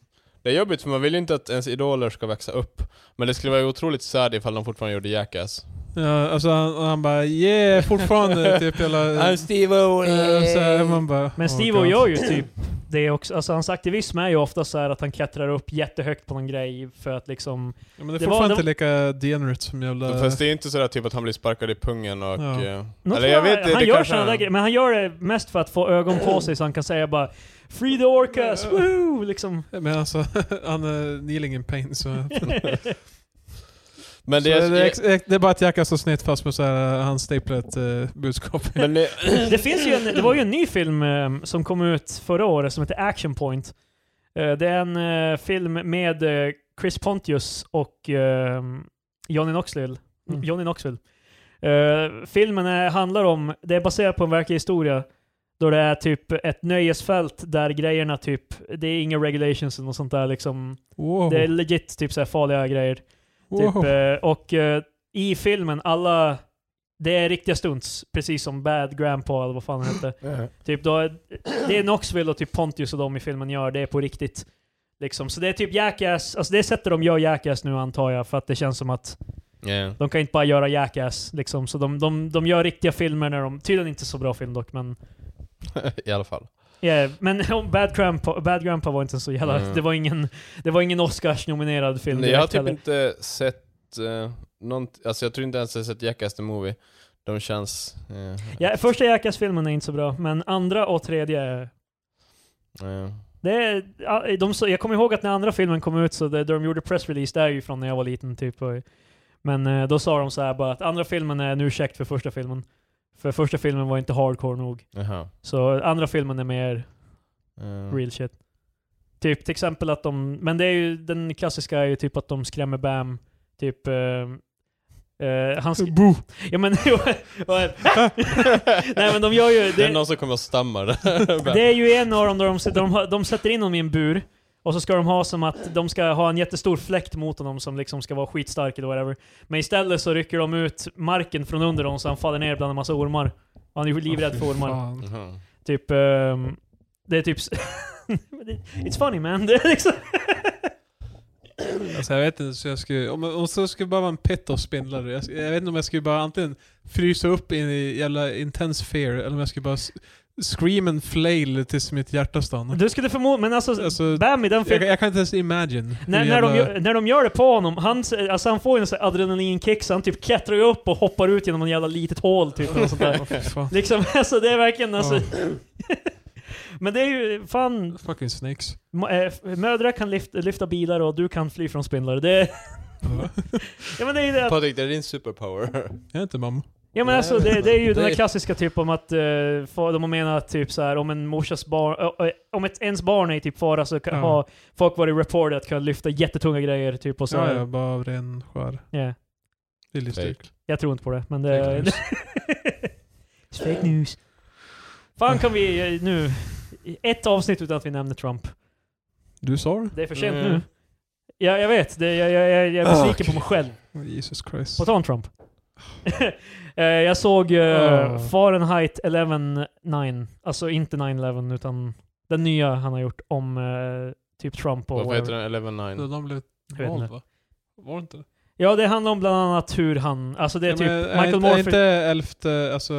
Det är jobbigt för man vill ju inte att ens idoler ska växa upp. Men det skulle vara otroligt sad ifall de fortfarande gjorde Jackass.
Ja, alltså han, han bara yeah, fortfarande typ hela... äh,
Steve-O!
eh,
så här, man bara,
Men
oh
Steve-O
God.
gör ju typ det också. Alltså hans aktivism är ju ofta så här att han klättrar upp jättehögt på någon grej för att liksom...
Ja, men det är
det var-
fortfarande
det
inte lika degenerate som jävla...
Fast det är ju inte sådär typ att han blir sparkad i pungen och...
Ja.
eh,
Något
Eller jag
sådär-
vet det,
han
det
gör
kanske
sådana där
han-
grejer, men han gör det mest för att få ögon på sig så han kan säga bara Free the orcas, woo! Liksom.
Men alltså, han är kneeling in pain så...
Men
så
det,
det, är,
är,
ex- ex- det är bara att Jackass står snett fast med så här, han staplar ett eh, budskap.
men det,
Det finns ju en, det var ju en ny film eh, som kom ut förra året som heter Action Point. Eh, det är en eh, film med eh, Chris Pontius och eh, Johnny Knoxville.
Mm.
Johnny Knoxville. Eh, filmen är, handlar om, det är baserat på en verklig historia. Då det är typ ett nöjesfält där grejerna typ, det är inga regulations och sånt där liksom.
Wow.
Det är legit typ så här farliga grejer. Typ,
wow.
eh, och eh, i filmen, alla... Det är riktiga stunts, precis som Bad Grandpa eller vad fan eh, han hette. typ då, är- det är Knoxville och typ Pontius och de i filmen gör, det är på riktigt. Liksom. Så det är typ Jackass, alltså det sättet de gör Jackass nu antar jag, för att det känns som att
Yeah.
de kan inte bara göra Jackass. Liksom. Så de, de, de gör riktiga filmer när de, tydligen inte så bra film dock, men
I alla fall.
Yeah, men Bad Grandpa, Bad Grandpa var inte så jävla...
Mm.
Det var ingen, det var ingen Oscars-nominerad film
jag har
direkt
typ
heller.
inte sett uh, nånt, alltså jag tror inte ens jag har sett Jackass the Movie. De känns... eh,
Ja, första Jackass-filmen är inte så bra, men andra och tredje... är-
eh,
Det är, ja, de, så- jag kommer ihåg att när andra filmen kom ut, så det, de gjorde pressrelease, det är ju från när jag var liten typ. Och, men eh, då sa de så här bara att andra filmen är en ursäkt för första filmen. För första filmen var inte hardcore nog.
Jaha.
Så andra filmen är mer
Eh,
real shit. Typ till exempel att de, men det är ju den klassiska är ju typ att de skrämmer Bam, typ eh, eh, han sk-
Boo!
Ja men, och- nej men de gör ju,
Det är
det,
någon som kommer att stamma där.
det är ju en av dem där de, sit- de, har- de sätter in honom i en bur, och så ska de ha som att de ska ha en jättestor fläkt mot honom som liksom ska vara skitstark eller whatever. Men istället så rycker de ut marken från under honom så han faller ner bland en massa ormar. Han är ju livrädd för ormar.
Fan.
Jaha.
Typ, ehm, det är typ... s- Men det- It's funny man. Det är liksom,
Alltså, jag vet inte, så jag skulle, om, om så skulle bara vara en pet of spindlar. Jag, jag vet inte om jag skulle bara antingen frysa upp in i jävla intense fear, eller om jag skulle bara s- scream and flail tills mitt hjärta stannar.
du skulle förmodligen, men alltså,
Mm. Alltså,
Bam i den
jag,
filmen,
jag kan inte ens imagine. hur
när, när, de,
jävla-
gör- när de gör det på honom, han, s- alltså, han får ju en sån här adrenalinkick så han typ klättrar ju upp och hoppar ut genom en jävla litet hål typ. eller något sånt där.
Åh, fy fan.
Liksom, alltså det är verkligen alltså... Men det är ju fan,
Fucking snakes.
ma- eh, f- mödrar kan lyfta, lyfta bilar och du kan fly från spindlar. Det är, ja men det är ju det att-
Patrik, det är din
Eh,
superpower.
Jag är inte mamma.
Ja men alltså det, det är ju den där
Det-
klassiska typ om att eh, fa- de har menat typ så här om en morsas barn, ö- ö- om ett, ens barn är i typ fara så kan
Ja.
ha folk varit reported att kan lyfta jättetunga grejer typ och så.
Ja,
här.
ja, bara av ren skär
Ja.
lillestyrk.
Jag tror inte på det, men
Fake
det...
news.
It's fake news. Fan kan vi eh, nu... Ett avsnitt utan att vi nämner Trump.
Du sa det?
Det är för sent
Mm.
nu. Ja, jag vet. Det, jag, jag, jag, jag är
Ah,
besviken på
okej.
mig själv.
Oh, Jesus Christ.
På tal om Trump. Eh, jag såg eh,
Ah.
Fahrenheit 11.9. Alltså inte 9-11 utan den nya han har gjort om eh, typ Trump och
Varför
whatever.
heter den 11-9?
De blev
Jag vet
vald
inte.
va? Var det inte det?
Ja, det handlar om bland annat hur han... Alltså det är
Ja,
typ
men eh,
Michael
inte, är
Morphy.
inte elfte, alltså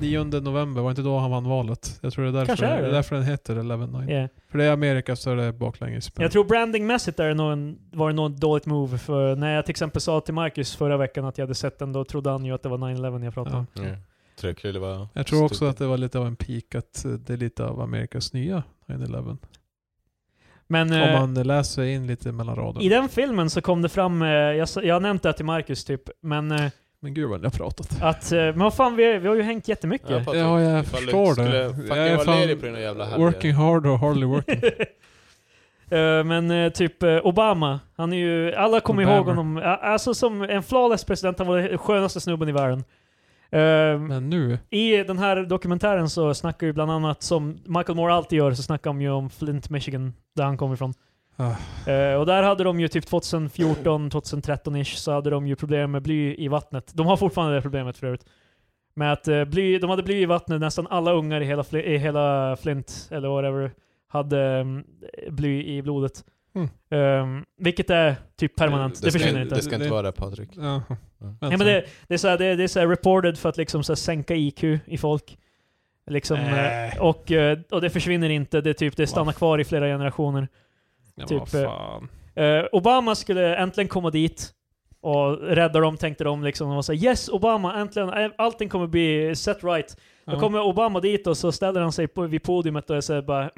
9 november, var inte då han vann valet? Jag tror det är därför,
Kanske är det.
det. är därför den heter 11-9.
Yeah.
För det är Amerika så är det baklänges.
Jag tror brandingmässigt är det nog en, var det nog ett dåligt move, för när jag till exempel sa till Marcus förra veckan att jag hade sett den, då trodde han ju att det var 9-11 jag pratade om.
ja.
Mm. Trycklig, det var
jag tror också
stupid.
att det var lite av en peak, att eh, det är lite av Amerikas nya 9-11.
Men
Om
eh,
man läser in lite mellan raderna.
i den filmen så kom det fram, eh, jag, sa- jag har nämnt det här till Marcus typ, men eh,
Men gud vad ni har pratat.
att, eh, men vad fan vi, vi har ju hängt jättemycket.
Ja, Patrik,
Ja, jag
ifall du
förstår
skulle
det.
fucking
Jag är
vara
fan
ledig på dina jävla helger.
Working hard or hardly working.
Eh, men eh, typ eh, Obama, han är ju, alla kommer
Obama.
ihåg honom, uh, alltså som en flawless president, han var den skönaste snubben i världen. Eh,
Men nu,
I den här dokumentären så snackar ju bland annat, som Michael Moore alltid gör, så snackar de ju om Flint, Michigan, där han kommer ifrån.
Ah.
Eh, och där hade de ju typ 2014, 2013-ish, så hade de ju problem med bly i vattnet. De har fortfarande det problemet för övrigt. Med att eh, bly, de hade bly i vattnet, nästan alla ungar i hela, Fli- i hela Flint, eller whatever, hade mm, bly i blodet.
Mm.
Eh, vilket är typ permanent, det,
Det ska,
försvinner
inte.
inte.
det ska inte
Det-
vara det Patrik.
ja.
Ja,
Alltså.
men det, det är såhär, det, det är såhär reported för att liksom såhär sänka IQ i folk. Liksom,
Nej.
eh, och, eh, och det försvinner inte, det, är typ, det stannar kvar i flera generationer.
ja,
typ,
vad fan.
Eh, Obama skulle äntligen komma dit och rädda dem, tänkte de. Liksom. De var såhär yes Obama, äntligen, eh, allting kommer bli set right. Då
Ja.
kommer Obama dit och så ställer han sig på, vid podiumet och är såhär bara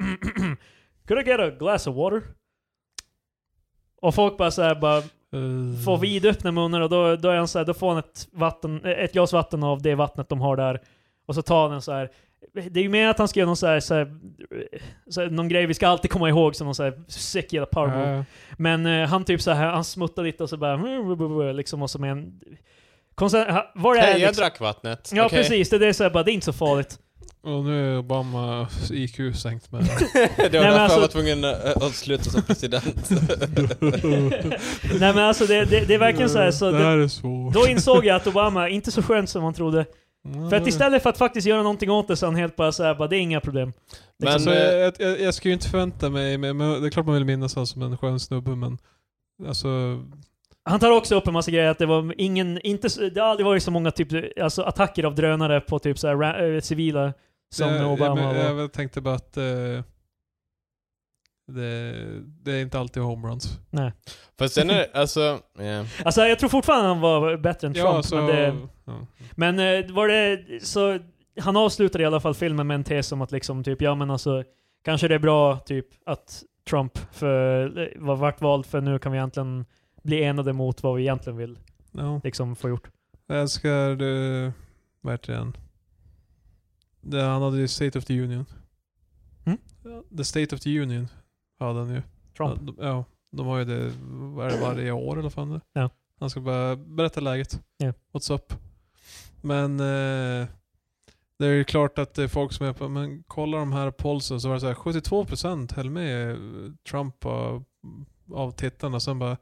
Could I get a glass of water? Och folk bara såhär bara
Eh,
får vidöppna munnen och då, då är han så här, då får han ett, vatten, ett glas vatten av det vattnet de har där. Och så tar han en så här. Det är ju mer att han ska göra någon så här, så här, så här, någon grej vi ska alltid komma ihåg som någon så här sick jävla power move.
Ja,
Men eh, han typ så här, han smuttar lite och så bara liksom och som en... Konstant, ha- vad det är
Hej, jag
liksom.
drack vattnet.
Ja
Okej.
precis, det, det är så här, bara, det är inte så farligt.
och nu är Obama IQ sänkt med...
det var
men
därför
alltså-
jag var tvungen eh, att sluta som president.
Nej men alltså det, det, det är verkligen så här, så
det
det,
här är svårt.
då insåg jag att Obama, inte så skönt som man trodde, För att istället för att faktiskt göra någonting åt det så är han helt bara såhär, bara det är inga problem.
Men,
alltså,
eh,
jag, jag, jag skulle ju inte förvänta mig, men, men det är klart man vill minnas honom som en skön snubbe, men alltså...
Han tar också upp en massa grejer, att det var ingen, inte, så- det har aldrig varit så många typ, alltså attacker av drönare på typ så här, ra- eh, civila som
det,
Obama
jag,
var.
jag, jag tänkte bara att eh, det, det är inte alltid homeruns.
Fast sen är alltså... ja.
Alltså jag tror fortfarande han var bättre än Trump, men, det,
ja.
men eh, var det, så han avslutade i alla fall filmen med en tes om att liksom typ, ja men alltså, kanske det är bra typ att Trump för, eh, var vart vald för nu kan vi egentligen bli enade mot vad vi egentligen vill
Ja.
liksom få gjort.
Jag älskar eh, du verkligen. Det, han hade ju State of the Union.
Mm?
The State of the Union hade han ju. Ja,
Trump.
de, ja, de har ju det var, varje år eller vad fan det är.
Ja.
Han ska bara berätta läget.
Ja.
What's up? Men eh, det är ju klart att det är folk som är på, men kolla de här polsen så var det så här 72% höll med eh, Trump av, av tittarna. Sen bara,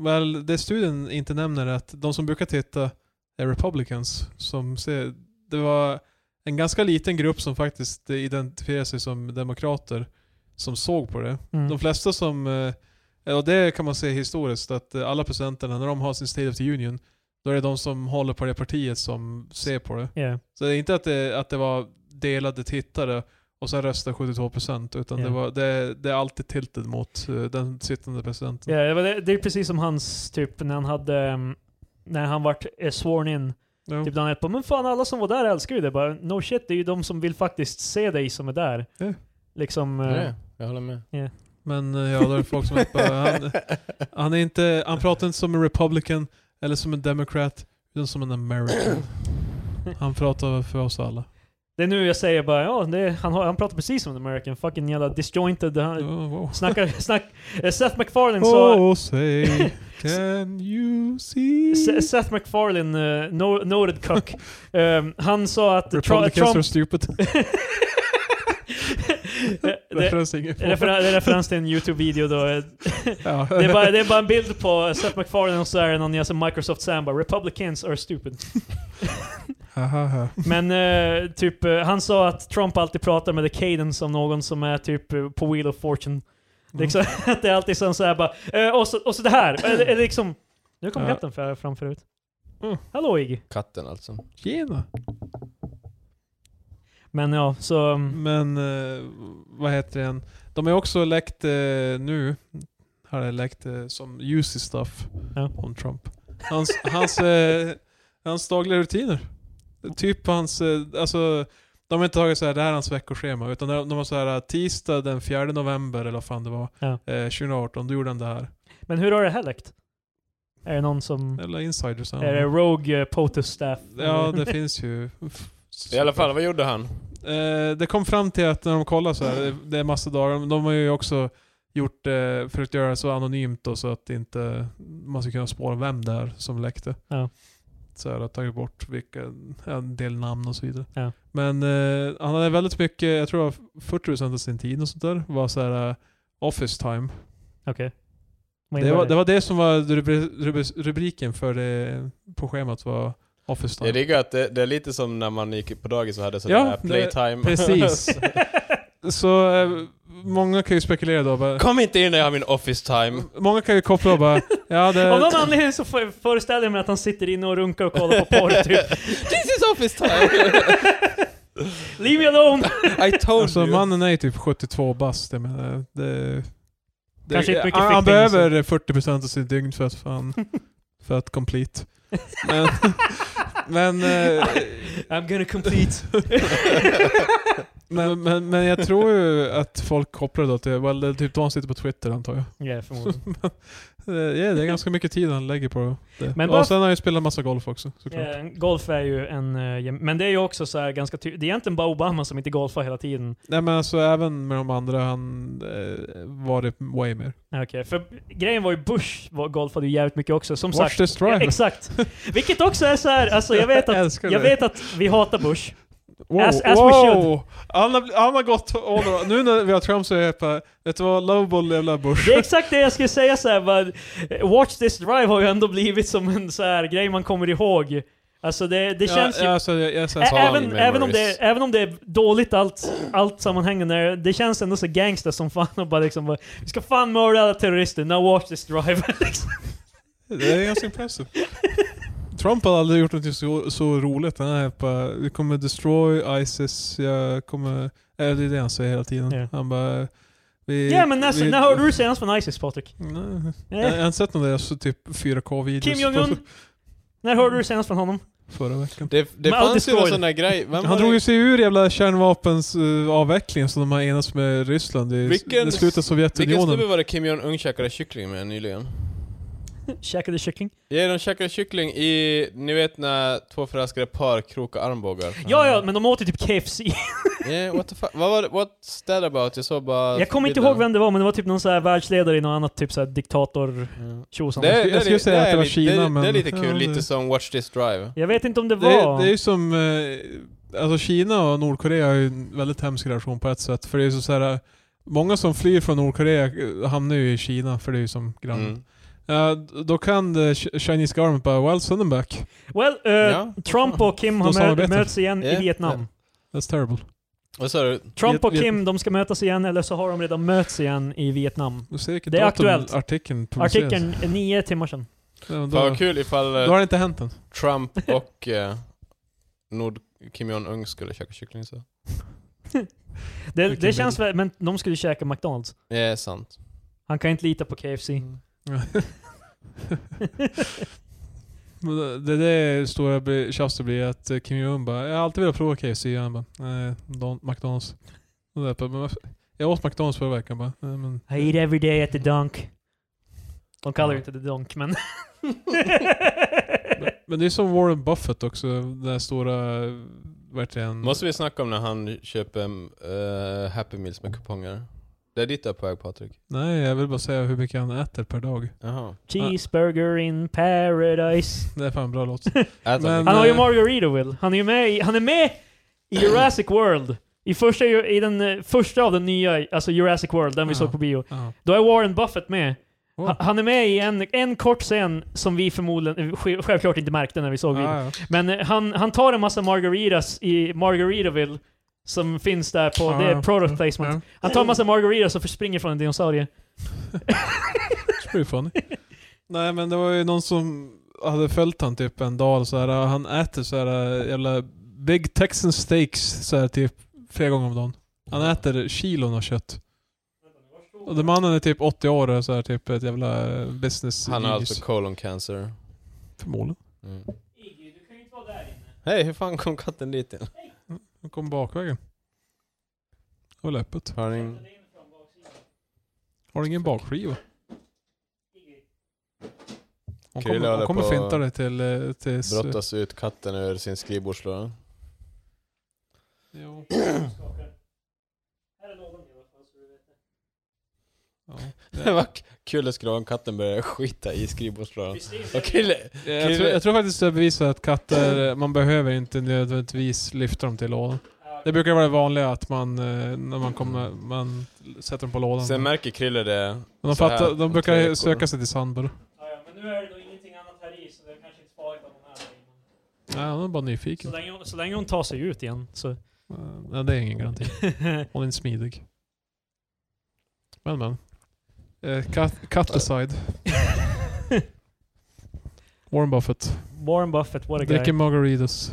väl det studien inte nämner är att de som brukar titta är republicans. Som ser, det var en ganska liten grupp som faktiskt identifierar sig som demokrater som såg på det.
Mm.
De flesta som, eh, och det kan man se historiskt, att eh, alla presidenterna när de har sin State of the Union, då är det de som håller på det partiet som ser på det.
Ja.
Så det är inte att det, att det var delade tittare och sen röstar 72% utan
Ja.
det, var, det, det är alltid tilted mot eh, den sittande presidenten.
Ja, det, var- det, det är precis som hans, typ när han hade, ehm, när han vart eh, sworn in,
Ja.
typ när han hette på, men fan alla som var där älskar ju det. Bara, no shit, det är ju de som vill faktiskt se dig som är där.
Ja.
Liksom, eh,
Nej, jag håller med.
Men eh, ja, då är det folk som är bara, han, han, är inte, han pratar inte som en republican eller som en democrat, utan som en american. Han pratar för oss alla.
det är nu jag säger bara, ja, det, han, har- han pratar precis som en American, fucking jävla disjointed. Han,
Oh, wow.
snackar, snack, eh, Seth MacFarlane sa,
Oh, say, can you see?
Se- eh, Seth MacFarlane, eh, no, noted cock, ehm, han sa att Tru-
Republicans are
Trump...
stupid.
det,
Referens ingen på.
refer- det är referens till en YouTube-video då. eh,
Ja.
Det är, bara, det är bara en bild på Seth MacFarlane och så är det någon jävla Microsoft Samba. Republicans are stupid.
Hahaha.
Men eh, typ, eh, han sa att Trump alltid pratar med the cadence av någon som är typ eh, på Wheel of Fortune.
Mm.
Liksom, att det är alltid sån såhär bara, eh, och, så, och så det här. Eller, eller liksom, nu kom
Ja.
katten fram fram förut.
Mm.
Hallå Iggy.
Katten alltså.
Tjena.
Men ja, så... mm,
Men eh, vad heter den? De har ju också läckt eh, nu, har det läckt eh, som juicy stuff
Ja.
om Trump. Hans, hans, eh, hans dagliga rutiner. Typ hans, eh, alltså de har inte tagit så här, det här är hans veckoschema, utan de de har så här tisdag den 4 november eller vad fan det var,
Ja.
eh, 2018, då gjorde han det här.
Men hur har det här läckt? Är det någon som...
Eller insiders.
Är det Mm. Rogue eh, POTUS staff?
Ja, det finns ju.
I alla fall, vad gjorde han?
Eh, det kom fram till att när de kollar så här, det- det är massa dagar. De- De har ju också gjort, eh, försökt göra det så anonymt då, så att det inte, man ska kunna spåra vem det är som läckte.
Ja.
Så här, har tagit bort vilka, en del namn och så vidare.
Ja.
Men eh, han hade väldigt mycket, jag tror det var 40% av sin tid och sånt där, var så här eh, office time.
Okej. Vad
Det
innebär
var, det var det som var rubri, rubri, rubriken för det på schemat var office time.
Jag diggar att det, det är lite som när man gick på dagis och hade sån
Ja,
där
det-
playtime.
Precis. så eh, många kan ju spekulera då. Bara,
Kom inte in när jag har min office time.
Många kan ju koppla och bara, ja
Av
det...
någon anledning så för- föreställer jag mig att han sitter inne och runkar och kollar på porr typ.
This is office time!
Leave me alone!
I told
Alltså
you!
mannen är ju typ 72 bast, jag menar. Det, det,
Kanske inte mycket
han, han
flykting,
behöver 40% av sin dygn för att fan... För att complete. Men... men, eh,
I'm gonna complete.
men, men, men jag tror ju att folk kopplar det då till, well, det är typ då han sitter på Twitter antar jag.
Ja, förmodligen.
Eh, ja, det är ganska mycket tid han lägger på det.
Men bara-
och sen har han ju spelat massa golf också såklart.
Ja, golf är ju en... eh, jäm- Men det är ju också så här ganska ty- Det är egentligen bara Obama som inte golfar hela tiden.
Nej men alltså även med de andra, han eh, var det way mer.
Ja, Okej, för grejen var ju Bush var, golfade ju jävligt mycket också. Som
Watch
sagt.
this drive.
Exakt. Vilket också är så här, alltså jag vet att...
älskar
Jag
det.
vet att vi hatar Bush.
Wow,
As- as we should.
Han, har, bl- han har gått all around. Nu när vi har Trump så är jag bara, vet du vad, lovable jävla Bush.
Det är exakt det jag skulle säga så här, bara, Watch this drive har ju ändå blivit som en så här grej man kommer ihåg. Alltså det, det känns
ja,
ju...
alltså, jag, jag,
Ä-
jag,
Ä- Ä-
Även,
memories.
även, om det, även om det är dåligt allt, allt sammanhängande, det känns ändå så gangster som fan och bara liksom bara, Vi ska fan mörda alla terrorister, now watch this drive. liksom.
det är ganska impressive. Trump har aldrig gjort något så, så roligt. Han är bara, vi kommer destroy ISIS, jag kommer... Eller det är det han säger hela tiden.
Ja.
Han bara... Vi,
Ja men när,
vi-
när hörde du senast från ISIS Patrik?
Nej. Jag
Eh,
jag har inte sett någon deras typ 4K-videos.
Kim Jong-Un? När hörde du senast från honom?
Förra veckan.
Det, det
Men all
fanns ju någon
destroyed.
sån där grej. Vem var
Han drog
det?
ju sig ur jävla kärnvapens uh, avveckling som de har enats med Ryssland i
Vilken-
i slutet av
Vilken snubbe
Sovjetunionen.
var det Kim Jong-Un käkade kyckling med nyligen?
Käkade kyckling?
Ja, de käkade kyckling i, ni vet när två förälskade par krokar armbågar.
Ja ja, men de åt ju typ KFC.
Yeah, what the fuck? Vad var det? What's that about? Jag såg bara...
Jag kommer inte ihåg vem det var, men det var typ någon så här världsledare i något annat typ så här diktator
vem...
tjosan.
Det, är-
Jag skulle
det är-
säga att det
är
var
lite-
Kina,
det, Det är
men-
lite kul,
ja, det-
lite som Watch This Drive.
Jag vet inte om det
Det är,
var...
det är ju som... eh, alltså Kina och Nordkorea har ju en väldigt hemsk relation på ett sätt. För det är ju så såhär... Många som flyr från Nordkorea eh, hamnar ju i Kina, för det är ju som grann.
Mm.
Ja, d- då kan the Ch- Chinese government bara “Well, send them back.
Well, eh,
Ja.
Trump och Kim
De
har mö
samarbetar.
möts igen
Ja,
i Vietnam.
That's terrible”.
Vad sa du?
Trump och
Viet-
Kim, de ska mötas igen, eller så har de redan möts igen i Vietnam.
Du ser vilket
Det är
datum
aktuellt.
artikeln publiceras.
Artikeln är nio timmar sedan.
Ja, men
Fan
då,
vad kul ifall eh,
då har det inte hänt än.
Trump och eh, Nord Kim Jong-Un skulle käka kyckling så.
Det,
Vilken
det känns
bild.
väl, men de skulle käka McDonalds.
Det är sant.
Han kan inte lita på KFC.
Mm. Men det- Det är det stora bli- tjafset blir att eh, Kim Jong-Un bara “Jag har alltid velat prova KFC” och han bara “Nej, Don- McDonalds”. Och där bara, "Men varför- jag åt McDonalds förra veckan bara "Nej, men,
I eat every day at the dunk. De kallar det inte the dunk, men...
men det är som Warren Buffett också, den där stora... eh, Verkligen...
Måste vi snacka om när han köper eh, Happy Meals med kuponger? Det är dit du är på väg Patrik?
Nej, jag vill bara säga hur mycket han äter per dag.
Jaha.
Cheeseburger in paradise.
Det är fan en bra låt.
Äter
Men-
Han har ju
Nej.
Margaritaville. Han är ju med i, han är med i Jurassic World. I, första, i den eh, första av den nya, alltså Jurassic World, den vi
Ja.
såg på bio.
Ja.
Då är Warren Buffett med.
Wow.
Ha- Han är med i en, en kort scen som vi förmodligen, eh, sj- självklart inte märkte när vi såg videon.
Ja, ja.
Men eh, han, han tar en massa margaritas i Margaritaville som finns där på, det
Ja.
är product placement. Han tar en massa margaritas och förspringer från en dinosaurie.
It's pretty funny. Nej men det var ju någon som hade följt han typ en dag och så här, och han äter så här äh, jävla Big Texan Steaks så här typ flera gånger om dagen. Han
Mm.
äter kilon av kött. Och den mannen är typ 80 år och så här typ ett jävla äh, business
Han har
genius.
alltså colon cancer.
Förmodligen.
Mm. Hej, hur fan kom katten dit igen?
Han kom bakvägen. Det var läppet.
Har ni-
Har du ingen bakskiva? Hon
Krille
kommer,
håller
hon kommer
på-
finta dig till... äh, tills, äh,
brottas ut katten ur sin skrivbordslåda.
jo. Ja.
Vad kul det skulle vara om katten började skita i skrivbordslådan. Vad kul!
Eh, Jag tror, jag tror faktiskt det bevisar att katter, eh, man behöver inte nödvändigtvis lyfta dem till lådan. Det brukar vara det vanliga att man, eh, när man kommer, man sätter dem på lådan.
Sen
Men
märker Krille det.
de,
så här
fattar,
om
de
tre
brukar
veckor.
söka sig till sandbord.
Men nu är det då ingenting annat här i, så det är kanske inte farligt om
Nej, hon är bara nyfiken.
Så länge, så länge hon tar sig ut igen så...
Nej, det är ingen garanti. Hon är inte smidig. Men men. Eh, Cut, cut aside. Warren Buffett.
Warren Buffett, what a guy.
Dricker margaritas.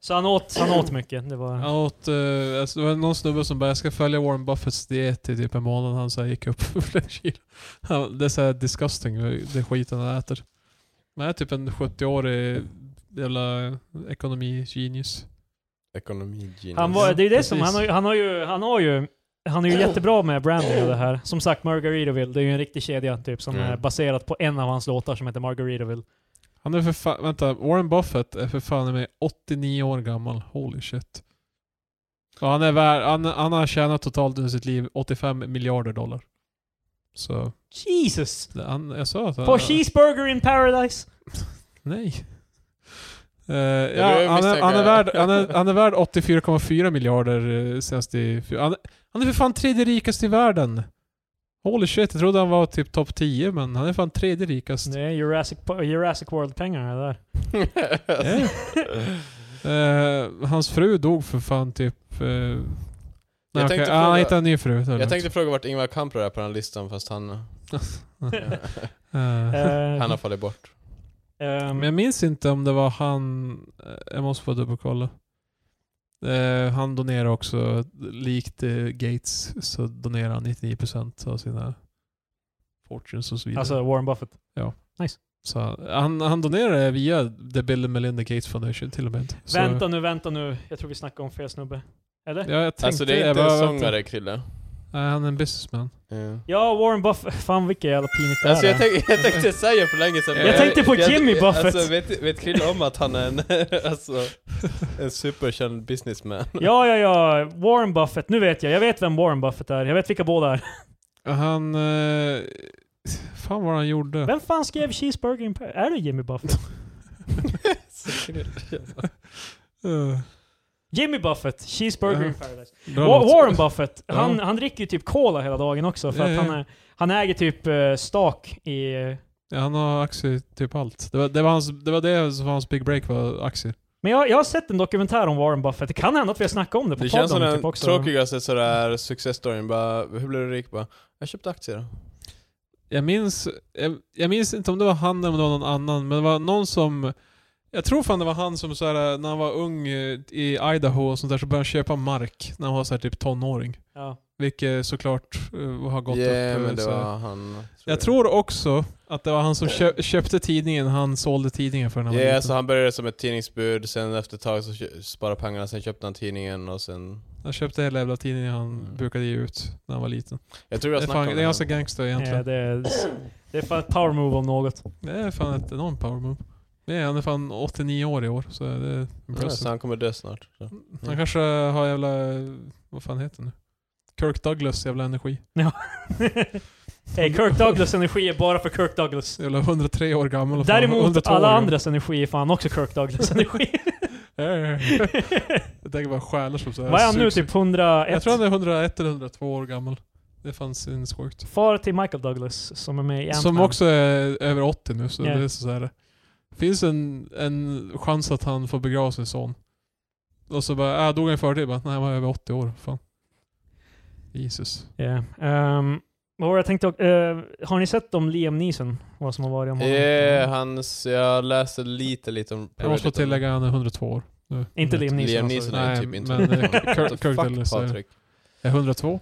Så han åt, han åt mycket. Det var...
Han åt, eh, alltså, det var någon snubbe som bara “Jag ska följa Warren Buffetts diet i typ en månad”. Han så här, gick upp flera kilo. Han, det är såhär disgusting, det skiten han äter. Men han är typ en 70-årig jävla ekonomi-genius.
Ekonomi genius.
Han var, det är ju det
Precis.
som, han har, ju- han har ju... Han har ju han är ju jättebra med branding och det här. Som sagt, Margaritaville, det är ju en riktig kedja typ som
Mm.
är baserat på en av hans låtar som heter Margaritaville.
Han är för fan, vänta, Warren Buffett är för fan med 89 år gammal. Holy shit. Och han, är värd, han, han har tjänat totalt under sitt liv 85 miljarder dollar. Så,
Jesus!
det- han, jag sa att han...
På cheeseburger in paradise!
Nej. Eh,
då är
ja,
jag
han, är,
misstänker-
han, är värd, han, är, han är värd 84,4 miljarder eh, senast i fjol. Han, han är för fan tredje rikast i världen. Holy shit, jag trodde han var typ topp 10 men han är fan tredje rikast.
Det är Jurassic, Po- Jurassic World-pengarna det där.
Eh. Eh, hans fru dog för fan typ... eh, Nej,
tänkte
okej.
fråga-
Ah, han hittade en ny fru. det är
Jag
lugnt.
tänkte fråga vart Ingvar Kamprad är på den här listan fast han,
Eh,
Eh,
han har fallit bort.
ehm,
Men jag minns inte om det var han... eh, Jag måste få dubbelkolla. Eh, han donerar också, likt eh, Gates, så donerar han 99% av sina fortunes och så vidare.
alltså Warren Buffett.
så han, han donerar det via The Bill and Melinda Gates Foundation till och med. Så,
Vänta nu, vänta nu. Jag tror vi snackade om fel snubbe. Eller?
Ja, jag tänkte,
Alltså det är
jag
inte en
bara,
sångare Krille.
vänta. Nej, han är en businessman.
Ja.
Ja, Warren Buffett. Fan vilket jävla pinigt det
Alltså
här
jag,
är.
tänk, jag tänkte säga för länge sedan. men
Jag tänkte på Jimmy Buffett.
Alltså, vet, vet Krille om att han är en, alltså, en superkänd businessman?
Ja, ja, ja. Warren Buffett. Nu vet jag. Jag vet vem Warren Buffett är. Jag vet vilka båda är.
Han... Eh, fan vad han gjorde.
Vem fan skrev Cheeseburger Empire? Är det Jimmy Buffett?
Eh,
Jimmy Buffett, Cheeseburger
Ja.
in Paradise.
bra
Wa-
låt.
Warren Buffett,
Ja.
han, han dricker ju typ cola hela dagen också för
Ja,
att
ja.
han, är, han äger typ eh, stak i...
Ja, han har aktier i typ allt. Det var det, var hans, det var det som var hans big break, var aktier.
Men jag, jag har sett en dokumentär om Warren Buffett, det kan hända att vi har snackat om det på
Det känns som
podden
den
typ också.
tråkigaste sådär success-storyn. Bara, hur blev du rik? Bara, jag köpte aktier. då."
Jag minns, jag, jag minns inte om det var han eller om det var någon annan, men det var någon som... Jag tror fan det var han som så här, när han var ung eh, i Idaho och sånt där så började han köpa mark när han var så här, typ tonåring.
Ja.
Vilket såklart eh, har gått
yeah,
upp. eh,
men det
så här.
var han.
Jag tror också att det var han som köp, köpte tidningen han sålde tidningen för när han
Ja,
var
så
liten.
han började som ett tidningsbud, sen efter ett tag så kö- sparade pengarna, sen köpte han tidningen och sen...
Han köpte hela jävla tidningen han
Mm.
brukade ge ut när han var liten.
Jag tror
Det
jag
är,
snackade
fan,
om
det är ganska gangster egentligen.
Eh, det, är, det är fan ett power move om något.
Det är fan ett enormt power move. Nej, han är fan 89 år i år, så det är
Ja, så
impressive.
han kommer dö snart. Så.
Han kanske har jävla, vad fan heter han nu? Kirk Douglas jävla energi.
Eh, Kirk Douglas energi är bara för Kirk Douglas.
Jävla 103 år gammal och fan
Däremot
102
alla
år.
andras energi är fan också Kirk Douglas energi.
Ja, ja, ja. Jag tänker bara själar som så här
Vad är han nu?
sugs-
Typ 101?
Jag tror han är 101 eller 102 år gammal. Det fanns sinnessjukt.
Far till Michael Douglas som är med i
Som
Ant-Man.
också är över 80 nu, så
Ja.
det är så här. Finns en, en chans att han får begrava sin son? Och så bara, äh, dog han i förtid? Bara, Nej, han var över 80 år. Fan. Jesus.
Ja, ehm, vad var det jag tänkte också- eh, Har ni sett om Liam Neeson? Vad som har varit om honom?
Yeah, hans, Eh, jag läste lite lite om...
Jag måste få tillägga, han är 102 år. Nu.
Inte Liam Neeson.
Liam
alltså.
Neeson är
Nej,
typ inte...
men, eh,
What the
Kirk- Kirk
fuck,
Douglas är-
Patrik?
Är 102?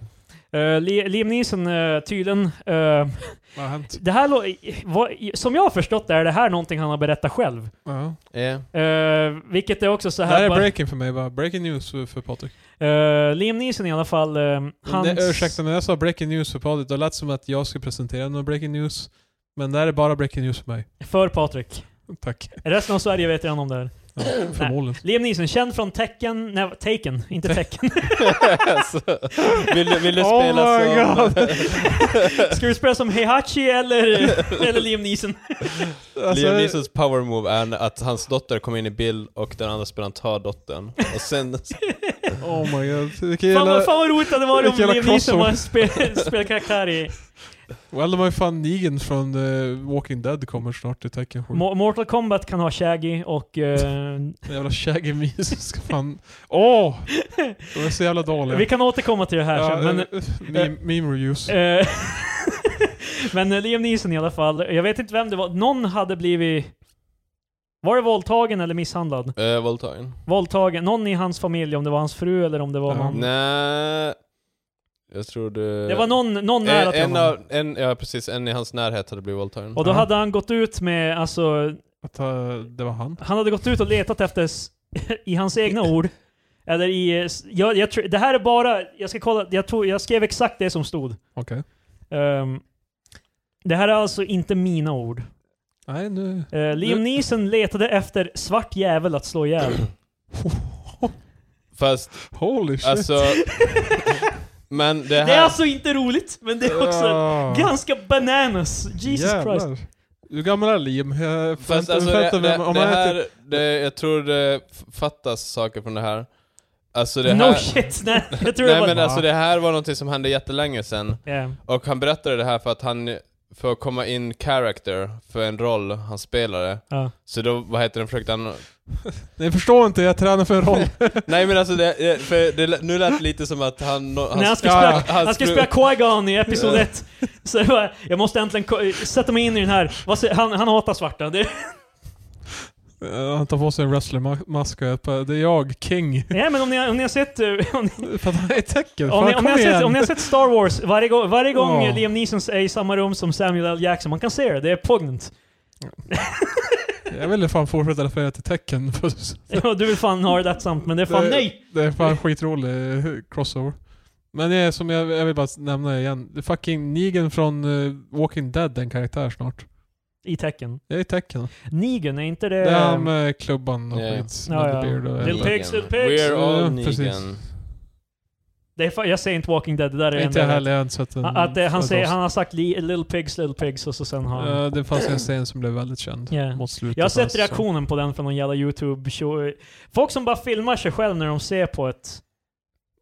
Eh, Li- Liam Neeson, eh, tydligen. eh,
Vad har hänt?
det här, lå- vad, som jag har förstått det är det här någonting han har berättat själv.
Ja.
Yeah.
Eh, vilket är också så
Det här
här...
är
bara-
breaking för mig bara. Breaking news för, för Patrik.
eh, Liam Neeson i alla fall. eh, hans...
Nej, ursäkta, men jag sa breaking news för Patrik. Det lät som att jag skulle presentera någon breaking news. Men det här är bara breaking news för mig.
För Patrik.
Tack.
Resten av Sverige vet redan om det här.
Ja, förmodligen.
Liam Neeson, känd från Tecken... Nej, Taken. Inte Tecken.
Så, vill, du- vill du
Oh
spela
my
alltså-
som...
God. Ska du spela som Heihachi eller, eller Liam Neeson?
Alltså,
Liam Neesons power move är att hans dotter kommer in i bild och den andra spelaren tar dottern. Och sen...
Oh my god.
Fan,
Vilken jävla-
vad- fan vad roligt det hade varit om
Vilken jävla
Liam Neeson
crossover.
var spel- spelkaraktär i
Well, de har ju fan Negan från eh, Walking Dead kommer snart i Tekken 7.
Mo- Mortal Kombat kan ha Shaggy och... eh,
Den jävla Shaggy Meese ska fan... Åh! de är så jävla dåliga.
vi kan återkomma till det här
ja,
sen, men...
eh, meme, meme reviews.
eh, men eh, Liam Neeson i alla fall. Jag vet inte vem det var. Någon hade blivit... Var det våldtagen eller misshandlad?
Äh, Våldtagen.
Våldtagen. Någon i hans familj, om det var hans fru eller om det var
Ja.
någon...
Nej... Jag tror du...
Det var någon, någon nära
Eh, en,
till
en,
honom.
av, en, ja, precis, en i hans närhet hade blivit våldtagen.
Och då
Ja.
hade han gått ut med, alltså,
Att, eh, det var han.
Han hade gått ut och letat efter, s- i hans egna ord, eller i... eh, s- Jag, jag, tror- det här är bara... Jag ska kolla, jag, tror, jag skrev exakt det som stod.
Okej.
Ehm, det här är alltså inte mina ord.
Nej, nu...
Eh, Liam
Mm.
Nu-
Neeson letade efter svart jävel att slå ihjäl.
Fast
Holy shit.
alltså... men det
Det är
här...
alltså inte roligt, men det är också
Ja.
ganska bananas. Jesus
Jävlar.
Christ.
Hur gammal är Liam? Jag
Fast
förväntar
alltså det,
alltså,
det,
mig... Om
det
han är
här,
typ...
det, jag tror det f- fattas saker från det här. Alltså det här...
No shit! Nej, jag tror det
Nej
var...
men alltså det här var någonting som hände jättelänge sen.
Ja.
Och han berättade det här för att han, för att komma in character för en roll han spelade.
Ja.
Så då, vad heter den, försökte han...
Nej, jag förstår inte, jag tränar för en roll.
Nej men alltså det, det- för det, lä- nu lät det lite som att han... no-
När han ska
ja,
spela,
ja,
han ska
skru-
spela Qui-Gon i Episod
Ja.
1. Så jag, bara, jag måste äntligen ko- sätta mig in i den här. Vad säger- Han, han hatar svarta. Det,
Eh, Han tar på sig en wrestlermask och jag bara, det är jag, King.
nej men om ni, har- om ni har sett... eh, Om ni,
För att han är ett tecken.
om
Fan,
ni, om,
kom
ni har sett, om
igen.
ni har sett Star Wars, varje gång, varje gång
Ja.
eh, Liam Neeson är i samma rum som Samuel L. Jackson, man kan se det, det är pognant.
Jag ville fan fortsätta referera till tecken. för-
Ja, Du vill fan ha det där samt, men det är fan
Det-
nej!
Det är fan skitrolig eh, crossover. Men det är som jag, jag vill bara nämna igen. Det är fucking Negan från eh, Walking Dead, är en karaktär snart.
I tecken.
Det är tecken.
Negan, är inte det...
Det är han med klubban och
Ja, ja.
skit.
Ehm. Ja,
med
ja.
the beard och-
Little Pigs, Little Pigs.
We're
Ja,
all
precis.
Negan.
det är, fan- jag säger inte Walking Dead, det där är det
Inte
enda
jag
jag vet.
heller, jag har inte sett en,
A- Att, eh, han,
en
säger,
rost.
han har sagt li, Little Pigs, Little Pigs och så sen har han...
Eh, det fanns en scen som blev väldigt känd
Ja.
mot slutet. alltså.
Jag har
av
sett
säsongen.
reaktionen på den från någon jävla YouTube-show. Folk som bara filmar sig själv när de ser på ett...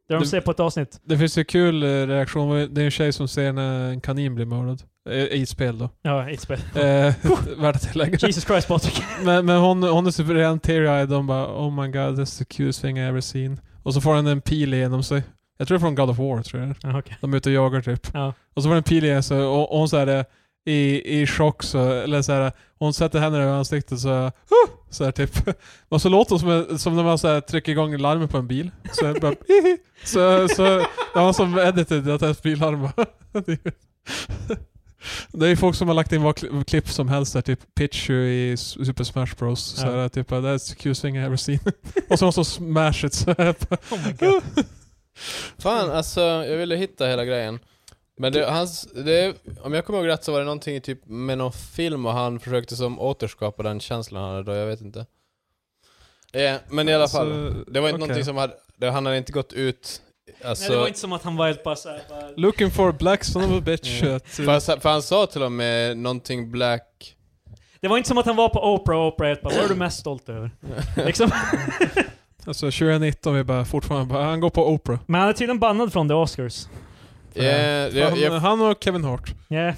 När de
Det-
ser på ett avsnitt.
Det finns ju kul eh, reaktion. Det är en tjej som ser när en kanin blir mördad. Eh, I ett spel då.
Ja, it's bad.
Eh, Värt att tillägga.
Jesus Christ Patrik.
Men, men hon, hon är suverän teary-eyed. Hon bara Oh my god, that's the cutest thing I ever seen. Och så får han en pil igenom sig. Jag tror det är från God of War, tror jag.
Ja, okej.
De är ute och jagar typ.
Ja.
Och så får den en pil igenom sig och, och hon såhär eh, i, i chock så, eller såhär, hon sätter händerna över ansiktet så här, "Huh!" så här typ. Och så låter hon som, en- som när man så här, trycker igång larmet på en bil. Så jag bara, "Hihi." så, så det var som edited att ens bilarm bara. Det är ju- Det är ju folk som har lagt in vad kli- klipp som helst där, typ Pichu i Super Smash Bros. Så här, typ that's the cutest thing I ever seen. och så måste smash it så här.
Oh my god.
Fan
Mm.
alltså, jag ville hitta hela grejen. Men det, hans, det, om jag kommer ihåg rätt så var det någonting i typ med någon film och han försökte som återskapa den känslan han hade då, jag vet inte. Eh, men i alla fall.
Så,
Det var
Alltså,
inte
okej.
någonting som hade, det, han hade inte gått ut,
Nej,
alltså,
det var inte som att han var helt bara såhär... bara-
Looking for a black son of a bitch.
Mm.
Att, eh,
för, han, sa- för han sa till och med någonting black,
Det var inte som att han var på Oprah och Oprah helt bara, vad är du mest stolt över? liksom.
Alltså 2019, vi bara fortfarande bara, han går på Oprah.
Men han är tydligen bannad från The Oscars.
eh, det-
han,
jag,
han och Kevin Hart.
Yeah.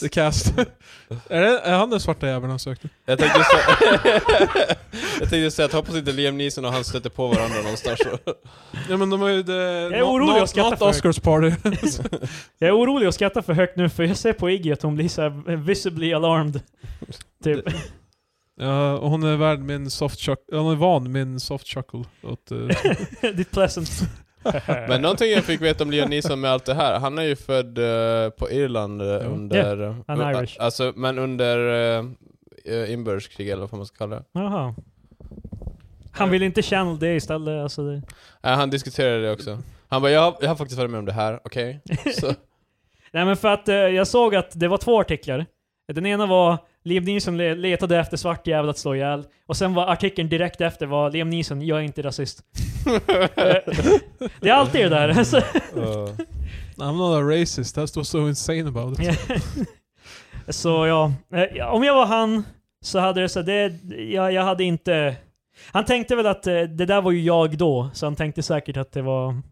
The cast. är, det, är han den svarta jäveln han sökte?
jag tänkte så, jag tänkte säga att hoppas inte Liam Neeson och han stöter på varandra någonstans.
Ja men de har ju... Det,
är orolig, jag skrattar
Not
för-
Oscars party.
Jag är orolig och skrattar för högt nu för jag ser på Iggy att hon blir såhär visibly alarmed. Typ.
ja, och hon är värd min soft chuckle. Hon är van min soft chuckle. Åt, eh,
Ditt pleasant.
Men någonting jag fick veta om Liam Neeson med allt det här, han är ju född eh, på Irland eh,
Ja.
under...
Mm. han är
eh,
Irish.
Alltså, men under eh, inbördeskrig eller vad man ska kalla det.
Jaha. Han vill inte channel det istället. Alltså det.
Eh, han diskuterade det också. Han bara, jag, har- jag har faktiskt varit med om det här, okej? Så-
Nej men för att eh, jag såg att det var två artiklar. Den ena var Liam Neeson le- letade efter svart jävel att slå ihjäl. Och sen var artikeln direkt efter var Liam Neeson, jag är inte rasist. Eh, det är alltid det där. alltså.
Eh.
I'm not a racist, that's what's so insane about it.
så ja, Eh, om jag var han så hade det så det, jag, jag hade inte... Han tänkte väl att eh, det där var ju jag då, så han tänkte säkert att det var...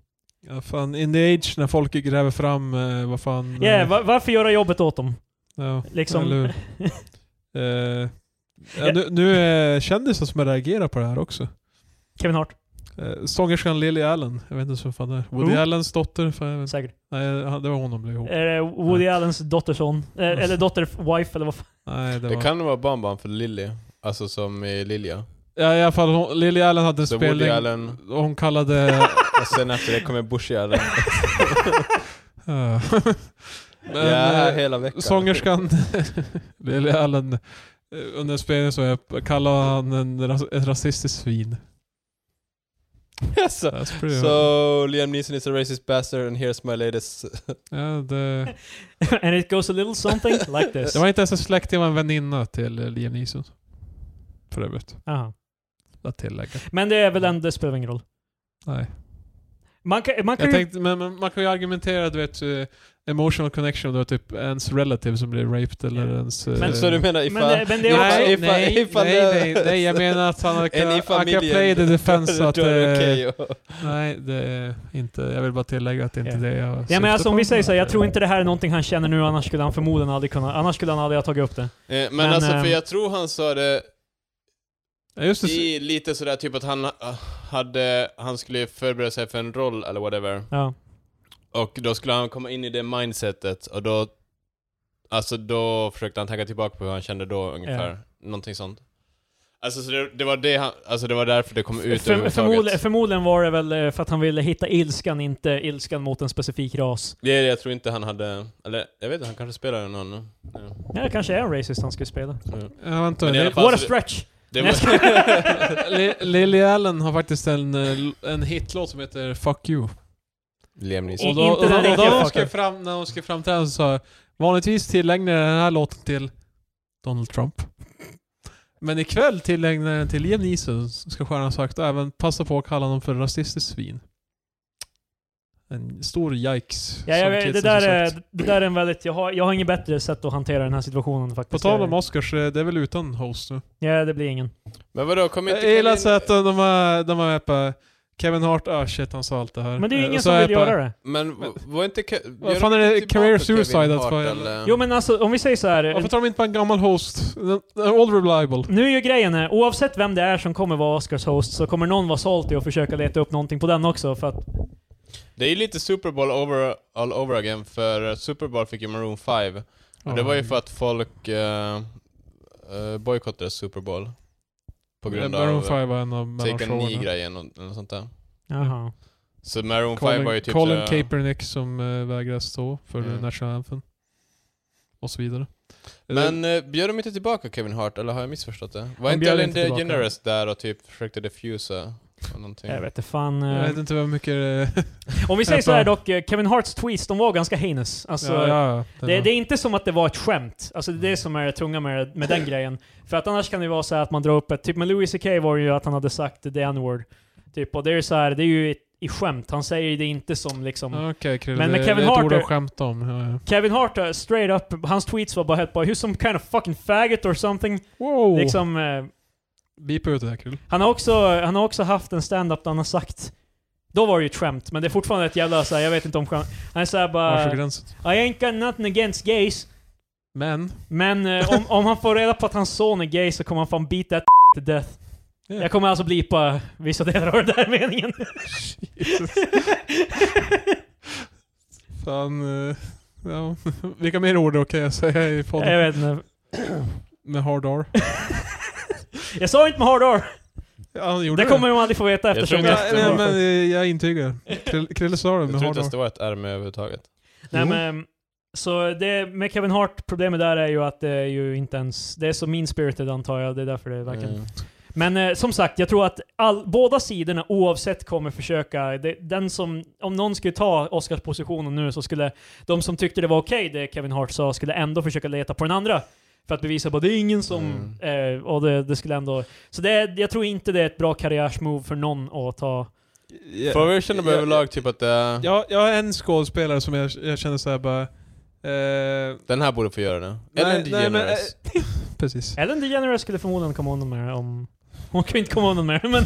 Ja, fan, in the age när folk gräver fram, eh, vad fan...
Ja,
eh,
va, varför göra jobbet åt dem?
ja,
Liksom.
eller hur? Eh, ja, nu, nu är kändisar som reagerar på det här också.
Kevin Hart,
Eh, sångerskan Lily Allen, jag vet inte ens vem fan det är. Woody
Who? Eh,
Allens dotter? Fan, jag vet, inte.
säkert.
nej, han- det var hon de blev ihop
Är det Woody Allens dotterson? Eh,
Mm.
Eller dotterwife eller vad fan?
Nej, det
Det
var...
kan nog vara barnbarn för Lilly. Alltså som i Lilja.
Ja, i alla fall, hon, Lily Allen hade en
Så
spelning.
Woody Allen
och Hon kallade...
och sen efter det kommer Bush Allen.
Eh, Men,
Jag är här
eh,
hela veckan.
sångerskan Lily Allen, eh, under spelningen så jag- kallade han en, ras- ett rasistiskt svin.
Jaså?
That's pretty
so Liam Neeson is a racist bastard and here's my latest...
ja, det,
And it goes a little something like this.
det var inte ens en släkting, det var en väninna till eh, Liam Neeson. För övrigt,
Aha.
att tillägga.
Men det är väl ändå, det spelar ingen roll.
Nej.
Man kan, man kan
Jag
ju...
tänkte, men, men man kan ju argumentera, du vet, eh, emotional connection, då är typ ens relative som blir raped eller
Ja.
ens...
Men-
eh,
Så du menar
Men det,
ifall...
men det är också...
nej,
ifall-
nej,
ifall
nej,
det-
nej, nej, jag menar att han
En i
kan, han kan
familjen.
play the defense att...
Då är det
eh,
okej att-
Nej, det är inte... Jag vill bara tillägga att det är inte
Ja.
det jag
Ja,
syftar
men alltså, om
på.
vi säger så här, jag tror inte det här är någonting han känner nu, annars skulle han förmodligen aldrig kunna... Annars skulle han aldrig ha tagit upp det.
Eh, Men,
Men,
alltså, för
ehm,
jag tror han sa det
Ja, just det.
i lite sådär typ att han eh, hade, han skulle förbereda sig för en roll eller whatever.
Ja.
Och då skulle han komma in i det mindsetet och då, alltså då försökte han tänka tillbaka på hur han kände då ungefär. Någonting sånt. Alltså så det, det var det han, alltså det var därför det kom ut
För, förmodligen,
överhuvudtaget.
förmodligen var det väl eh, för att han ville hitta ilskan, inte ilskan mot en specifik ras.
Det är det jag tror inte han hade, eller jag vet inte, han kanske spelade någon. eh,
Ja, det kanske är en racist han skulle spela.
Ja, vänta.
Men i alla
Li-
fall-
What a
så det-
stretch!
Det
Nej,
var,
jag skojar.
Li- Lily Allen har faktiskt en, eh, l- en hitlåt som heter 'Fuck You'
Liam Neeson.
Och då,
Inte
och då,
den
och då
riktiga
hon
fucken.
skrev fram, när hon skrev fram till henne så sa jag, Vanligtvis tillägnar jag den här låten till Donald Trump. Men ikväll tillägnar jag den till Liam Neeson, ska stjärnan ha sagt. Och även passa på att kalla honom för rasistiskt svin. En stor yikes.
Ja, jag,
som
vet, det,
kidsen
där
har
är,
sagt.
det där är en väldigt... Jag har, jag har inget bättre sätt att hantera den här situationen faktiskt.
På tal om Oscars, eh, det är väl utan host nu?
Ja, det blir ingen.
Men vadå, kom inte
Jag gillar
Colin-
så Eh, att de de har, de har på Kevin Hart, ah shit han sa allt det här.
Men det är ju
Eh,
ingen
så
som
är
vill
på-
göra det.
Men v- var inte... Ke-
Vad
gör
fan
de
är det?
inte
Career
tillbaka Kevin
suicide att
Hart,
få-
eller?
Jo men alltså, om vi säger så här.
Varför tar de inte bara en gammal host? Den- den är All reliable.
Nu är ju grejen här, oavsett vem det är som kommer vara Oscars host så kommer någon vara salty och försöka leta upp någonting på den också för att...
Det är ju lite Super Bowl over, all over again, för Super Bowl fick ju Maroon 5. Och det var ju för att folk eh, eh, bojkottade Super Bowl. På grund
Maroon
av...
5 var en av
Taken
mellanshowerna.
9-grejen och, eller något sånt där.
Jaha.
Så Maroon 5 var ju
Colin,
typ
Colin
såhär-
Kaepernick som uh, vägrade stå för
Mm.
mm. National Anthem. Och så
Eh,
vidare.
Men eh, bjöd de inte tillbaka Kevin Hart, eller har jag missförstått det? Var
Han
inte
bjöd
Ellen
inte tillbaka.
DeGeneres där och typ försökte diffusa? och Någonting.
Jag vet inte fan.
jag
eh.
vet inte hur mycket eh,
Om vi säger så här dock, eh, Kevin Harts tweets, de var ganska heinous. Alltså,
ja, ja, ja,
Det,
var-
det är inte som att det var ett skämt. Alltså det är det som är det tunga med, med den grejen. För att annars kan det ju vara så här att man drar upp ett... Typ med Louis CK var det ju att han hade sagt the n-word. Typ, och det är ju så här, det är ju ett, i skämt. Han säger ju det inte som liksom...
Ja, Okej Krille,
Men med
det-
Kevin
det är ett
Hart
ord
är-
att skämta om. Ja, ja.
Kevin Hart, eh, straight up, hans tweets var bara helt bara “You're some kind of fucking faggot or something”.
Wow!
Liksom, eh,
Beepa ut det där Krille.
han, har också, han har också haft en stand-up där han har sagt då var det ju ett skämt, men det är fortfarande ett jävla såhär, jag vet inte om skämt. Han är såhär
Vars är
bara... I
gränsen?
ain't got nothing against gays,
Men,
men eh, om, om han får reda på att hans son är gay så kommer han fan beat that to death.
Yeah.
Jag kommer alltså blipa vissa delar av den där meningen.
fan... eh, ja. Vilka mer ord är okej att säga i podden?
jag vet inte.
Med hard R.
Jag sa inte med hard R.
Ja, han gjorde
Det kommer de aldrig få veta eftersom
tror
jag...
inte-
Ja, nej,
Jättebra.
men eh, jag intygar. Krill- Krille sa det
Jag
med
tror inte
hard
ens
R.
det var ett R med överhuvudtaget.
Nej,
Jo.
men, så det med Kevin Hart, problemet där är ju att det är ju inte ens... Det är så mean spirited antar jag, det är därför det verkar...
Mm.
Men eh, som sagt, jag tror att all, båda sidorna oavsett kommer försöka... Det, den som, om någon skulle ta Oscarspositionen nu så skulle de som tyckte det var okej det Kevin Hart sa skulle ändå försöka leta på den andra. För att bevisa att det är ingen som... Eh, och det, det skulle ändå... Så det, jag tror inte det är ett bra karriärsmove för någon att ta...
Ja.
Får vi känna
Ja,
överlag typ att det är...
Jag, jag har en skådespelare som jag, jag känner såhär bara... Eh,
Den här borde få göra det. Ellen
nej, men, eh,
DeGeneres.
precis.
Ellen DeGeneres skulle förmodligen komma undan med det om... Hon kan ju inte komma undan med det, men...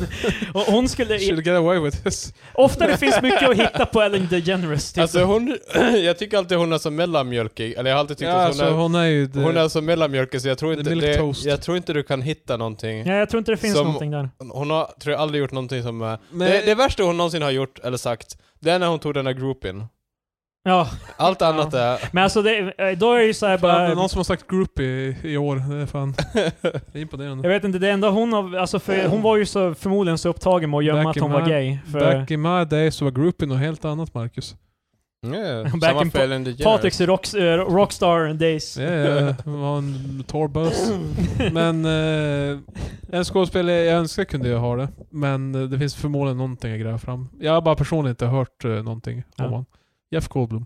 Och hon skulle...
She'll get away with this.
Ofta det finns mycket att hitta på Ellen DeGeneres. Typ.
Alltså hon... jag tycker alltid hon är så mellanmjölkig. Eller jag har alltid tyckt
Ja,
att
alltså,
hon är...
hon är ju... Det,
Hon är så mellanmjölkig så jag tror
The
inte,
milk
det,
toast.
jag tror inte du kan hitta någonting.
ja, jag tror inte det finns
som-
någonting där.
Hon har, tror jag, aldrig gjort någonting som... eh,
men,
Det, det värsta hon någonsin har gjort, eller sagt, det är när hon tog den där groupin.
Ja,
Allt annat är...
men alltså det, eh, då är det ju såhär
fan, det är
bara...
någon som har sagt groupie i, i år. Det är fan... det är imponerande.
Jag vet inte, det enda hon har, alltså för hon var ju så, förmodligen så upptagen med att gömma
Back
att hon
in
var
my-
gay. För
Back in my day så var groupie något helt annat, Marcus.
Yeah,
Back
samma
in
fel än DeGeneres.
Patricks rocks, eh, rockstar days.
Ja, ja, det eh, var en torrbös. Men eh, en skådespelare jag önskar kunde jag ha det. Men eh, det finns förmodligen någonting jag gräver fram. Jag har bara personligen inte hört eh, någonting
Ja.
om honom. Jeff Goldblum.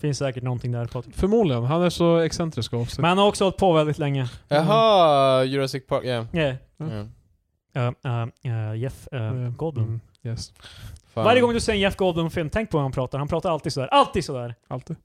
Finns säkert någonting där Patrik.
Förmodligen. Han är så excentrisk av sig.
Men han har också hållit på väldigt länge. Mm.
Jaha, Jurassic Park, ja.
Yeah.
Ja.
Uh, uh, uh, Jeff uh,
Eh,
Goldblum.
mm. Yes.
Fan.
Varje gång du ser en Jeff Goldblum-film, tänk på hur han pratar. Han pratar alltid sådär. Alltid sådär.
Alltid.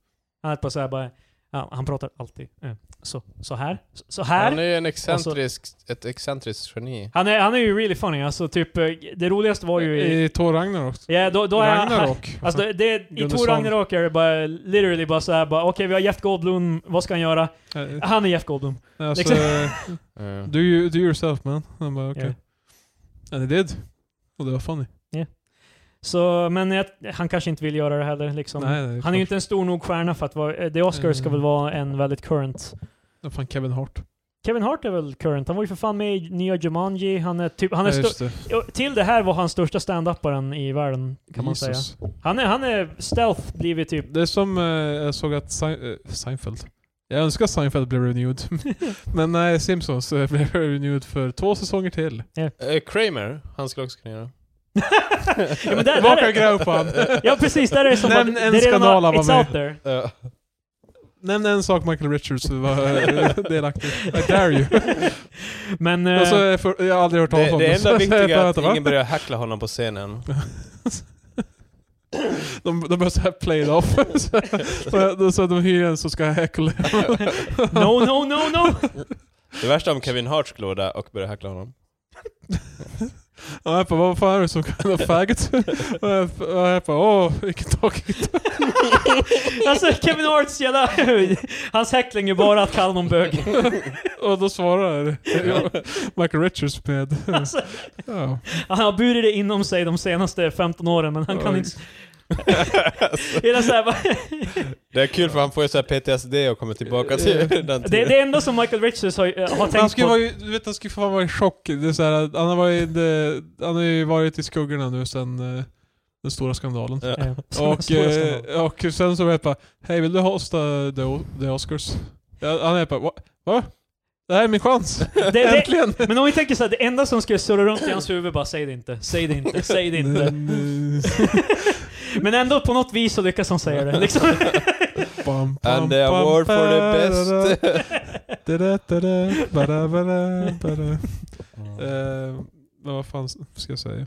Han är bara såhär bara... Ja, han pratar alltid eh, så, så här. Så, så
Han är
här.
ju en excentrisk, ett excentriskt geni.
Han är, han är ju really funny. Alltså typ, eh, det roligaste var ju i...
Eh, I Thor Ragnarok.
Ja, då, då är han,
Ragnarok.
Alltså det, det, I
Gunde
Tor
Svan.
Ragnarok är det bara literally bara såhär bara okej vi har Jeff Goldblum, vad ska han göra?
Eh,
Han är Jeff Goldblum.
alltså,
liksom.
Mm.
do, you, do yourself man. Han bara okej.
Ja.
And he did. Och det var funny.
Så, men jag, han kanske inte vill göra det heller liksom.
Nej, nej,
han är ju inte en stor nog stjärna för att vara, eh, The Oscar ska
Mm.
väl vara en väldigt current.
Det var fan Kevin Hart.
Kevin Hart är väl current? Han var ju för fan med i nya Jumanji, han är typ, han är
Ja,
stö-
just det.
Ja, Till det här var han största stand-uparen i världen kan man säga.
Jesus.
Han är, han är stealth blivit typ
Det är som eh, jag såg att Sein- eh, Seinfeld. Jag önskar att Seinfeld blev renewed. Men nej, Simpsons eh, blev renewed för två säsonger till.
Eh, Kramer, han skulle också kunna göra.
ja, men där,
Vaka
där är,
gräv på han.
ja precis, där är det som
Nämn
att
en
det redan har,
skandal han var
it's
med
out there.
Eh,
Nämn en sak Michael Richards var eh, delaktig I dare you.
Men... eh,
Alltså, jag för, jag har aldrig hört talas
det,
om
det
Så
enda
jag
viktiga är
bara,
att
va?
ingen börjar hackla honom på scenen.
De, de börjar såhär play it off. så, då så de hyr en som ska häckla.
No, no, no, no!
Det värsta om Kevin Hart skulle vara där och börja hackla honom.
Och jag bara, vad fan är det som kallar faggot? Och jag- och jag bara, åh, vilken tråkigt.
Alltså Kevin Harts jävla... Hans häckling är bara att kalla någon bög.
Och då svarar Michael Richards med,
Alltså,
ja.
han har burit det inom sig de senaste 15 åren, men han kan
Oj.
inte... det, är så här, bara-
Det är kul för han får ju så här PTSD och kommer tillbaka till den
det,
tiden.
det enda som Michael Richards har, har
Han
tänkt
skulle
på...
vara, ju- du vet han skulle fan vara i chock. Det är så här, att han, har varit, eh, han har ju varit i skuggorna nu sen eh, den stora skandalen.
Eh, som en
Och,
stor skandal.
eh, och sen så var jag bara, hej vill du hosta The, O- the Oscars? Ja, han är bara, va? va? Det här är min chans!
Det- det-
Äntligen!
Men om vi tänker såhär, det enda som skulle surra runt i hans huvud bara säg det inte, säg det inte, säg det inte. Men ändå på något vis så lyckas han säga det. Liksom.
Bam, bam,
And the
bam,
award for the
ba, da,
best.
da, da, da, da, ba, da, ba, da, ba, da. Eh, Men vad fan ska jag säga?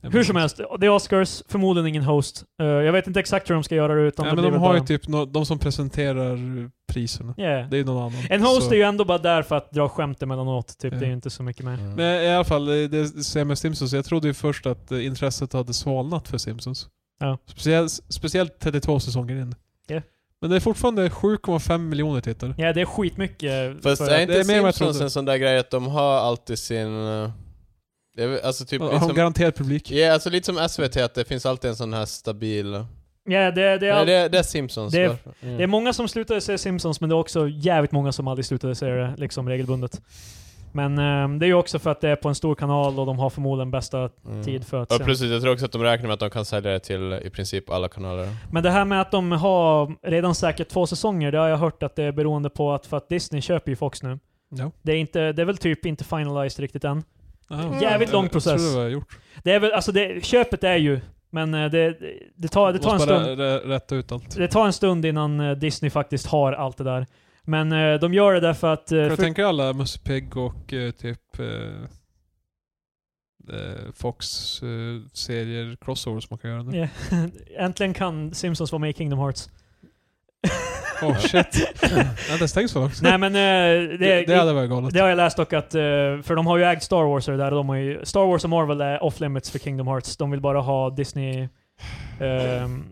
Jag
Hur
vet
som
inte.
helst, det är Oscars, förmodligen ingen host. Eh, jag vet inte exakt hur de ska göra det utan
Nej,
det
men
blir
de
väl
har ju
bara-
typ no, de som presenterar priserna.
Yeah.
Det är någon annan.
En host
Så- Mm.
är ju ändå bara där för att dra skämt emellanåt, typ.
Ja.
Det är ju inte så mycket mer.
Men i alla fall, eh, det säger med Simpsons, jag trodde ju först att eh, intresset hade svalnat för Simpsons.
Ja.
Speciellt, speciellt 32 säsonger in.
Ja.
Men det är fortfarande 7,5 miljoner tittare.
Ja, det är skitmycket. eh,
Fast
för
är
att-
inte
det är mer än jag
Simpsons
trodde.
en sån där grej att de har alltid sin... eh, det är väl- Alltså typ
Har
liksom,
hon garanterad publik?
Ja, alltså lite som SVT, att det finns alltid en sån här stabil...
Ja, det, det, är,
Nej,
all...
det, är- det är Simpsons.
det är-
varför? Mm.
det är många som slutade se Simpsons, men det är också jävligt många som aldrig slutade se det liksom, regelbundet. Men ehm, det är ju också för att det är på en stor kanal och de har förmodligen bästa
Mm.
tid för att
Och
se.
precis, jag tror också att de räknar med att de kan sälja det till i princip alla kanaler.
Men det här med att de har redan säkert två säsonger, det har jag hört att det är beroende på att, för att Disney köper ju Fox nu.
Ja.
Det är, inte, det är väl typ inte finalized riktigt än.
Ah,
Jävligt lång
Jag
process.
tror det var gjort.
Det är väl, alltså det, köpet är ju, men eh, det, det, tar, det tar en
Måste bara
stund. Eh,
rä- rätta ut allt.
Det tar en stund innan eh, Disney faktiskt har allt det där. Men eh, de gör det därför att... eh,
För jag
för,
tänker alla Musse Pigg och eh, typ eh, eh, Fox eh, serier, crossovers man kan göra nu.
Ja. äntligen kan Simpsons vara med i Kingdom Hearts.
Åh Oh, shit. ja, det stängs väl också?
Nej men eh,
det,
det,
det hade varit galet.
det har jag läst dock att, eh, för de har ju ägt Star Wars och det där, och de har ju, Star Wars och Marvel är off limits för Kingdom Hearts. De vill bara ha Disney... ehm,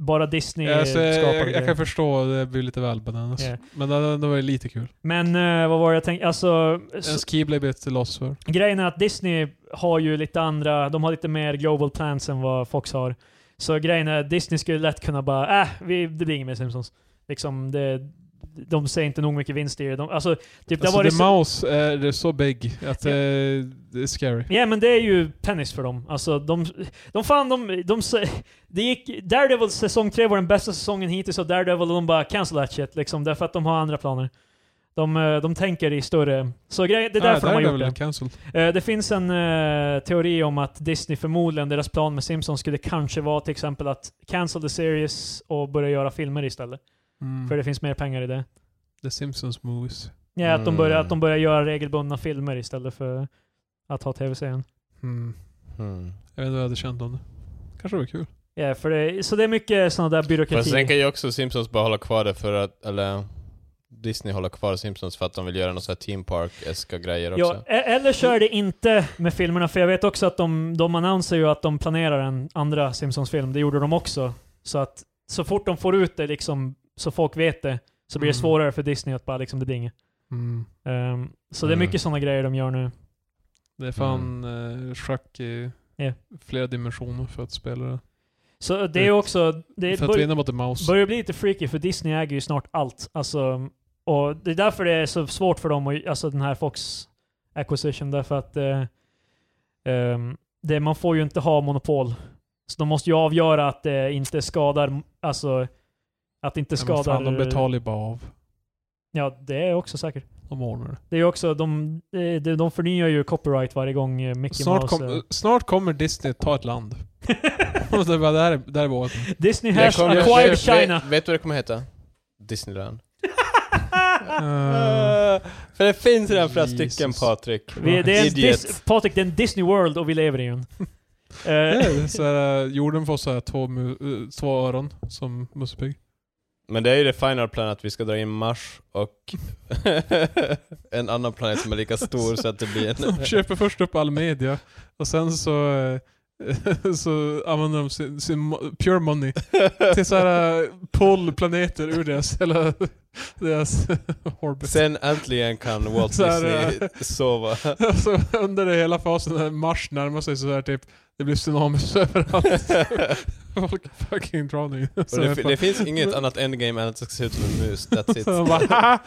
bara Disney
alltså, jag,
skapade
jag, jag
grejer.
kan förstå, det blir lite väl bananas.
Ja.
Men det, det var ju lite kul.
Men eh, vad var det jag tänkte? Alltså,
En
s-
Skiblade blev till loss för.
grejen är att Disney har ju lite andra, de har lite mer global plans än vad Fox har. Så grejen är att Disney skulle lätt kunna bara, äh, vi, det blir inget mer Simpsons. Liksom, det, de ser inte nog mycket vinst i det. De, alltså, typ, det
Alltså,
var
The
det så,
Mouse är det är så big att eh, det är scary.
Ja men det är ju tennis för dem. Alltså de, de fan de, de, de det gick, Daredevil säsong 3 var den bästa säsongen hittills och Daredevil de bara cancel that shit liksom därför att de har andra planer. De, eh, de tänker i större... Så grej, det är
Ah,
därför de har gjort det.
Cancel.
Eh, Det finns en eh, teori om att Disney förmodligen, deras plan med Simpsons skulle kanske vara till exempel att cancel the series och börja göra filmer istället.
Mm.
För det finns mer pengar i det.
The Simpsons movies.
Ja,
Mm.
att, de börjar, att de börjar göra regelbundna filmer istället för att ha tv-serien.
Mm.
Hmm.
Jag vet inte vad jag hade känt om det. Kanske var kul.
Ja, för det, så det är mycket sådana där
Fast sen
byråkrati.
kan ju också Simpsons bara hålla kvar det för att, eller Disney håller kvar Simpsons för att de vill göra någon sån här Team Park-eska grejer också.
Ja, e- eller så är det inte med filmerna, för jag vet också att de, de annonserar ju att de planerar en andra Simpsons-film. Det gjorde de också. Så att så fort de får ut det liksom, så folk vet det, så blir det
Mm.
svårare för Disney att bara liksom, det blir inget.
Mm.
Ehm, så det är mycket
Mm.
sådana grejer de gör nu.
Det är fan eh, schack i
Mm. Ja.
flera dimensioner för att spela det.
Så det är också... Det
för att
bör,
vinna mot en mouse.
börjar bli lite freaky, för Disney äger ju snart allt. Alltså, och det är därför det är så svårt för dem, att, alltså den här Fox Acquisition, därför att eh, ehm, det, man får ju inte ha monopol. Så de måste ju avgöra att det inte skadar, alltså att det inte
Nej, men
skadar...
fan, de betalar ju bara av.
ja, det är också säkert.
De ordnar det.
Det är ju också, de, eh, de de förnyar ju copyright varje gång eh, Mickey
Snart,
Mouse...
kom,
eh,
snart kommer Disney ta ett land. Och det är bara, där är, där är vårt.
Disney
Det
has
kommer-
acquired
vet-
China!
Vet, vet du vad det kommer heta? Disneyland.
Ah.
Eh,
Eh, för det finns redan flera
Jesus.
stycken Patrik.
Vi, det är en
Idiot.
dis- Patrik, det är en Disney World och vi lever i den. Eh,
det är så här, jorden får så här två, mu- eh, två öron som Musse Pigg.
Men det är ju det final plan att vi ska dra in Mars och en annan planet som är lika stor så att det blir
De
en...
köper först upp all media och sen så, eh, så använder de sin, sin mo- pure money till så här eh, pull planeter ur deras, hela, deras orbit.
Sen äntligen kan Walt
Så här,
Disney sova.
Så under det hela fasen när Mars närmar sig så här typ, det blir tsunamis överallt. Folk är fucking drowning.
Och
Så
det,
jag
fi-
bara-
det finns inget annat endgame än att det ska se ut som en mus, that's it.
Så jag bara, "Haha."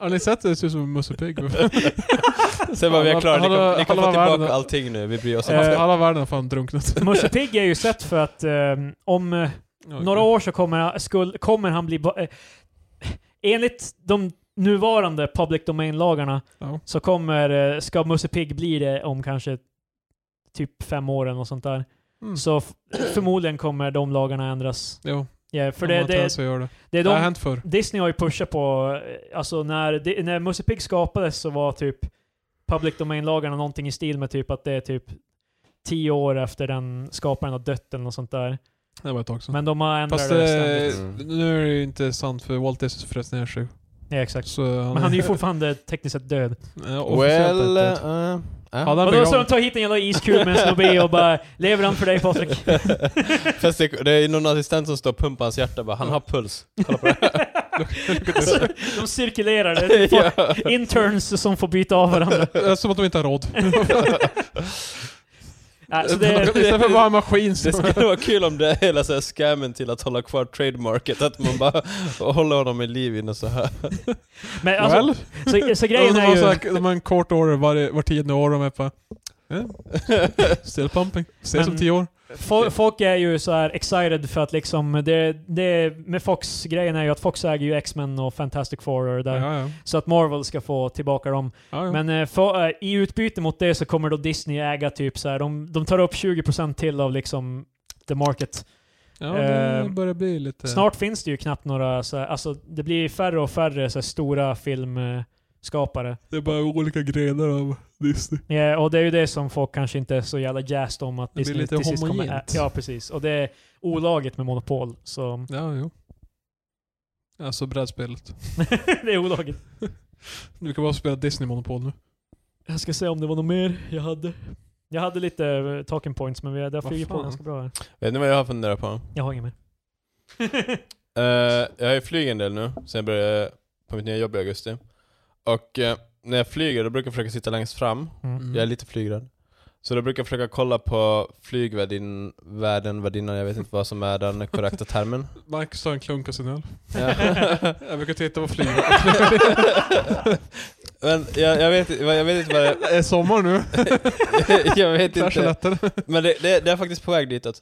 Har ni sett det? Det ser ut som en Musse Pigg.
Sen bara, vi är klara, ni
Hallå-
kan, ni kan få
hallå
tillbaka
världen.
allting nu, vi bryr oss
Eh,
Alla,
inte.
alla världen har fan drunknat.
Musse Pigg är ju sett för att eh, om eh, några år så kommer, skulle, kommer han bli... Ba- eh, enligt de nuvarande public domain-lagarna
Ja.
så kommer, eh, ska Musse Pigg bli det om kanske typ fem år eller något sånt där.
Mm.
Så f- förmodligen kommer de lagarna ändras.
Jo,
Ja, för
om
det,
man tar
det,
så gör det.
det är
Det har
de
hänt förr.
Disney har ju pushat på, eh, alltså när, Di- när Musse Pigg skapades så var typ public domain-lagarna någonting i stil med typ att det är typ tio år efter den skaparen har dött eller något sånt där.
Det var ett tag sedan.
Men de har ändrat
Fast eh,
det
det,
ständigt.
ständigt.
nu är det ju inte sant för Walt Disney frös ner sig.
Ja, exakt.
Så han,
Men han är ju fortfarande tekniskt sett död.
eh, officiellt
Well...
är det.
eh, eh.
Hade han
Vadå, så de
begravt...
tar hit en jävla iskub med en snubbe och bara lever han för dig Patrik?
Fast det, det är någon assistent som står och pumpar hans hjärta bara, han har puls. Kolla på det.
alltså, de cirkulerar. Det är folk-
Ja.
interns som får byta av varandra.
Det är som att de inte har råd.
Äh, så Alltså, det,
Istället för bara en maskin
Det
som...
skulle vara kul om det är hela så här scammen till att hålla kvar trademarket, att man bara håller honom i liv inne så här.
men alltså,
Well,
så, så
de
grejen är
har så
ju...
här- de har en kort order var, var tionde år de är på. Eh, still pumping. Ses om
Men-
tio år.
Fo- Folk är ju så här excited för att liksom, det, det med Fox-grejen är ju att Fox äger ju X-Men och Fantastic Four och det
Ja,
där.
ja. Ja,
Så att Marvel ska få tillbaka dem.
ja.
Men eh, för, eh, i utbyte mot det så kommer då Disney äga typ så här, de, de tar upp 20% till av liksom the market.
ja, det
eh,
börjar bli lite...
Snart finns det ju knappt några så här, alltså det blir färre och färre så här, stora filmskapare.
Det är bara olika grenar av Disney.
Ja, och det är ju det som folk kanske inte är så jävla jazzed om att
Det blir
Disney
lite
till sist kommer ä-
homogent.
Ja, precis. Och det är olagligt med monopol, så
Ja, jo. Alltså brädspelet.
det är olagligt.
Du kan bara spela Disney-monopol nu.
Jag ska se om det var något mer jag hade. Jag hade lite eh, talking points, men vi har- det har
Vad
flugit på
fan?
ganska bra här.
Vet ni vad jag har funderat på?
Jag har inget mer.
Eh, jag har ju flyg en del nu, sen jag började på mitt nya jobb i augusti. Och eh, när jag flyger då brukar jag försöka sitta längst fram,
Mm.
jag är lite flygrädd. Så då brukar jag försöka kolla på flygvärdin, värden, värdinnan, jag vet inte vad som är den korrekta termen.
Marcus tar en klunk av sin öl.
Ja.
Jag brukar titta på flyg.
Men jag, jag, vet, jag vet inte vad det
är sommar nu?
Jag vet
Kanske
inte.
lättare.
Men det, det, det är faktiskt på väg ditåt.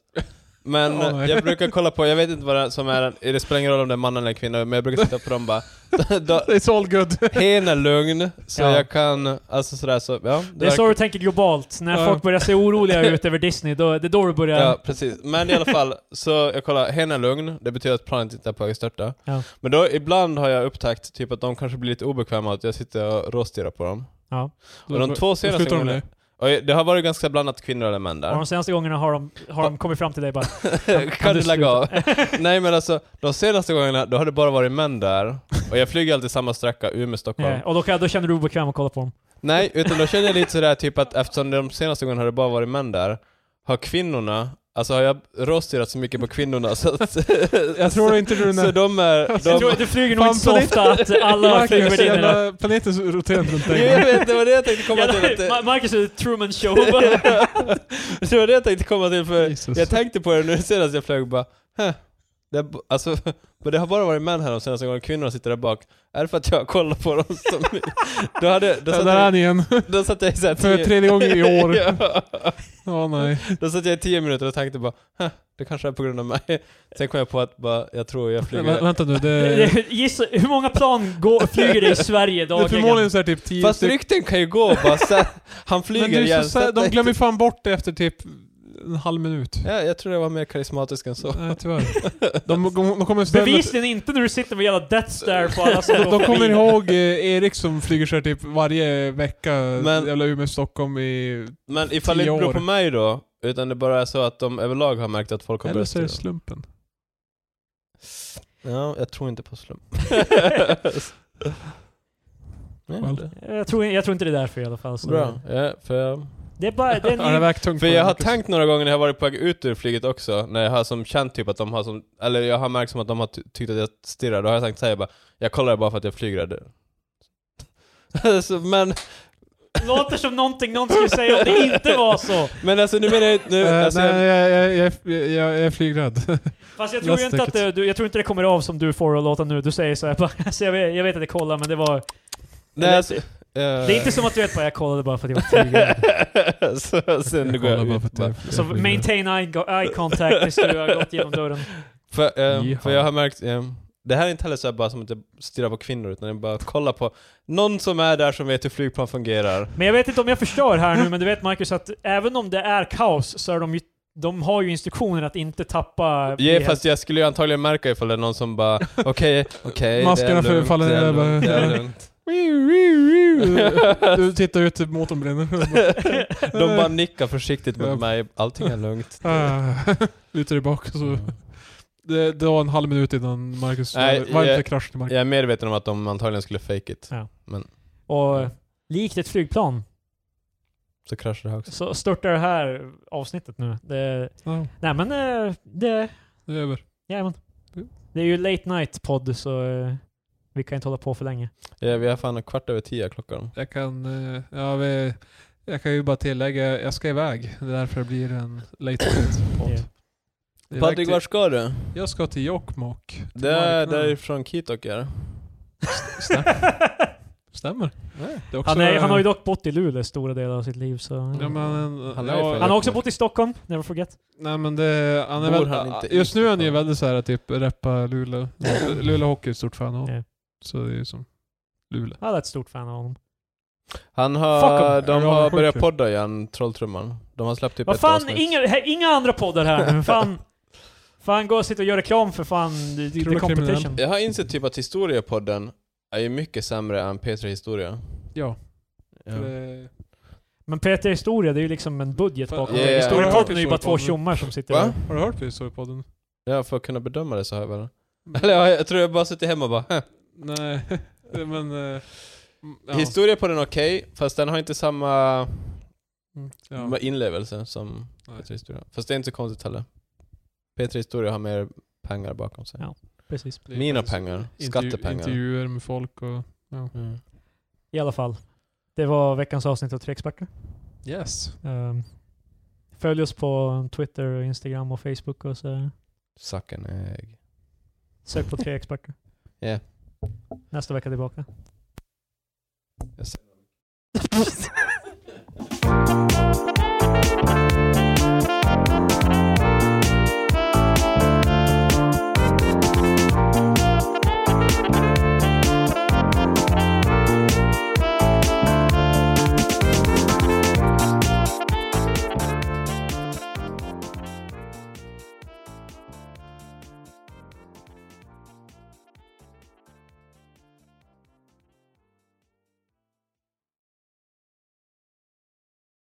Men
Ja, nej.
jag brukar kolla på, jag vet inte vad det är som är den, det spelar ingen roll om det är man eller kvinna, men jag brukar titta på dem bara. Då,
It's all good.
hen är lugn, så
Ja.
jag kan, alltså sådär så, ja.
Det är så du tänker globalt. När
Ja.
folk börjar se oroliga ut över Disney, då, det är då du börjar...
Ja, precis. Men i alla fall, så jag kollar, hen är lugn, det betyder att planet inte är på väg att störta.
Ja.
Men då ibland har jag upptäckt typ att de kanske blir lite obekväma, att jag sitter och råstirrar på dem. Och de två
Då
senaste
slutar de
gångerna...
det.
Och det har varit ganska blandat kvinnor eller män
Och
där.
de senaste gångerna har de, har de kommit fram till dig bara
kan
du
du lägga av?
sluta?
Nej men alltså, de senaste gångerna då har det bara varit män där. Och jag flyger alltid samma sträcka, Umeå-Stockholm.
Ja, "Eh, och då, kan- då känner du dig obekväm att kolla på dem.
Nej, utan då kände jag lite sådär typ att eftersom de senaste gångerna har det bara varit män där, har kvinnorna, alltså har jag råstirrat så mycket på kvinnorna så att...
Jag tror inte du...
Så
när-
de är...
Jag tror
De,
att du flyger nog
Fan,
inte så
på
ofta att alla flyger
Marcus,
värdinnorna.
jävla planeten så roterar inte runt
Jo,
dig.
jag vet, det var det jag tänkte komma
Ja,
till. Att,
Ma-
det-
Marcus är Truman show.
det var det jag tänkte komma till för
Jesus.
jag tänkte på det nu senast jag flög bara, "Huh, det, är b- alltså, men det har bara varit män här de senaste gångerna, kvinnorna sitter där bak. Är det för att jag kollar på dem som... Då, hade, då,
Där
satt
där är
jag,
han igen.
då satt jag i såhär
För
tio-
tredje gången i år.
ja.
Åh nej.
Då satt jag i tio minuter och tänkte bara "Huh, det kanske är på grund av mig. Sen kom jag på att bara, jag tror jag
Vä-
flyger.
Vänta nu, det...
Gissa, hur många plan går, flyger det i Sverige
Det är
dagligen?
förmodligen såhär typ 10
Fast rykten kan ju gå bara så här, han flyger
Men du är
igen.
så sä-
så
de
att-
glömmer fan bort det efter typ en halv minut.
ja, jag tror jag var mer karismatisk än så.
Nej tyvärr. De, de, de kommer istället...
Bevisligen inte när du sitter med jävla Death Star på alla som
De, de
går
kommer
förbi.
ihåg eh, Erik som flyger så här typ varje vecka,
Men-
jävla Umeå-Stockholm i...
Men ifall det
Tio
inte beror
år.
på mig då, utan det bara är så att de överlag har märkt att folk har
Eller
börjat
så är det
styra.
slumpen.
Ja, jag tror inte på slump. Nej,
Well.
det-
Jag tror, jag tror inte det är därför i alla fall. Så.
Bra. Ja, för jag,
Det är bara... Det är
Ja, det
en,
vägt tungt
för
på
jag har
Marcus.
tänkt några gånger när jag varit på väg ut ur flyget också, när jag har som känt typ att de har som, eller jag har märkt som att de har ty- tyckt att jag stirrar, då har jag tänkt såhär bara, jag kollar bara för att jag flyger där. så, men,
låter som någonting någon skulle säga om det inte var så.
men alltså nu menar jag nu,
Eh,
alltså,
nej,
jag,
jag, jag, jag, jag, jag är flygrädd.
Fast jag tror, ju inte, att det, du, jag tror inte det kommer av som du får att låta nu. Du säger såhär bara, alltså jag, vet, jag vet att jag kollar men det var...
nej, alltså,
Det är inte som att du vet bara jag kollade bara för att jag var flygrädd.
så, sen
Jag
går
kollar
jag
bara
ut
för att
bara.
jag-
Så
jag är flygrädd.
maintain eye, eye contact tills du har gått genom dörren.
För, eh,
Jaha.
för jag har märkt, eh, det här är inte heller så här bara som att jag stirrar på kvinnor, utan jag bara kollar på någon som är där som vet hur flygplan fungerar.
Men jag vet inte om jag förstör här nu, men du vet Marcus att även om det är kaos så är de ju, de har ju instruktioner att inte tappa...
Ja, fast jag skulle ju antagligen märka ifall det är någon som bara okej, okej,
Maskerna
det är lugnt,
faller
det är
ner bara.
lugnt, det är lugnt.
Wiu, wiu, wiu. Du tittar ut, typ, motorn brinner.
De bara nickar försiktigt
Ja.
mot mig, allting är lugnt.
Ah, Lutar dig bak så... Det, det var en halv minut innan Marcus...
Mm.
eh,
Nej,
var det
jag-
inte krasch till Marcus?
Jag är medveten om att de antagligen skulle fake it,
Och likt ett flygplan
så kraschar det här också.
så störtar det här avsnittet nu. Det,
Ja,
nej men eh, det...
det är över.
Jajamän.
Mm.
Det är ju late night podd så eh, vi kan inte hålla på för länge.
Ja, vi är fan kvart över tio klockan.
Jag kan... eh, Ja, vi, jag kan ju bara tillägga, jag ska iväg. Det är därför det blir en late night
Ja.
podd. Jag är iväg
Patrik,
till-
vart ska du?
Jag ska till Jokkmokk.
Det är
marknaden.
därifrån Kitok är.
Stämmer. Det är också-
han, är, han har ju dock bott i Luleå stora delar av sitt liv så...
Ja, men, en-
Han är
ja,
ju
han har också bott i Stockholm, never forget.
Nej men det, han är
Bor
väl,
han inte i
just nu är han ju
Stockholm?
väldigt såhär typ reppa Luleå. Luleå Hockey är ett stort fan av.
Ja.
Så det är ju som Luleå.
Han är ett stort fan av honom.
Han
Fuck 'em.
har,
Är
de
du
har
avundsjuk,
börjat
eller?
podda igen, Trolltrumman. De har släppt typ
Vad
ett
fan,
avsnitt.
inga, här, inga andra poddar här nu. Fan, fan gå och sitta och göra reklam för fan the,
Tror du
the
kriminell?
competition.
Jag har insett typ att historiepodden är ju mycket sämre än P3 Historia.
Ja.
Ja.
Det,
Men PT Historia, det är ju liksom en budget
Fan,
bakom.
ja, ja, ja.
Historiepodden är ju bara två
Historiepodden.
tjommar som sitter
Va?
där.
har du hört det så i podden?
Ja, för att kunna bedöma det så har jag väl... Eller ja, jag tror jag bara suttit hemma och bara "Hä."
Nej, men... eh, mm, Ja.
Historiepodden är okej, fast den har inte samma
Mm,
ma-
ja. typ.
inlevelse som
Nej.
P3 Historia. Fast det är inte så konstigt heller. P3 Historia har mer pengar bakom sig.
Ja. Precis.
Det är
Mina
faktiskt
pengar.
intervju-
Skattepengar.
Intervjuer med folk och...
Mm.
I alla fall. Det var veckans avsnitt av Tre Experter.
Yes.
Ehm, följ oss på Twitter, och Instagram och Facebook och så.
Suck an egg.
Sök på Tre Experter.
Ja.
Nästa vecka tillbaka.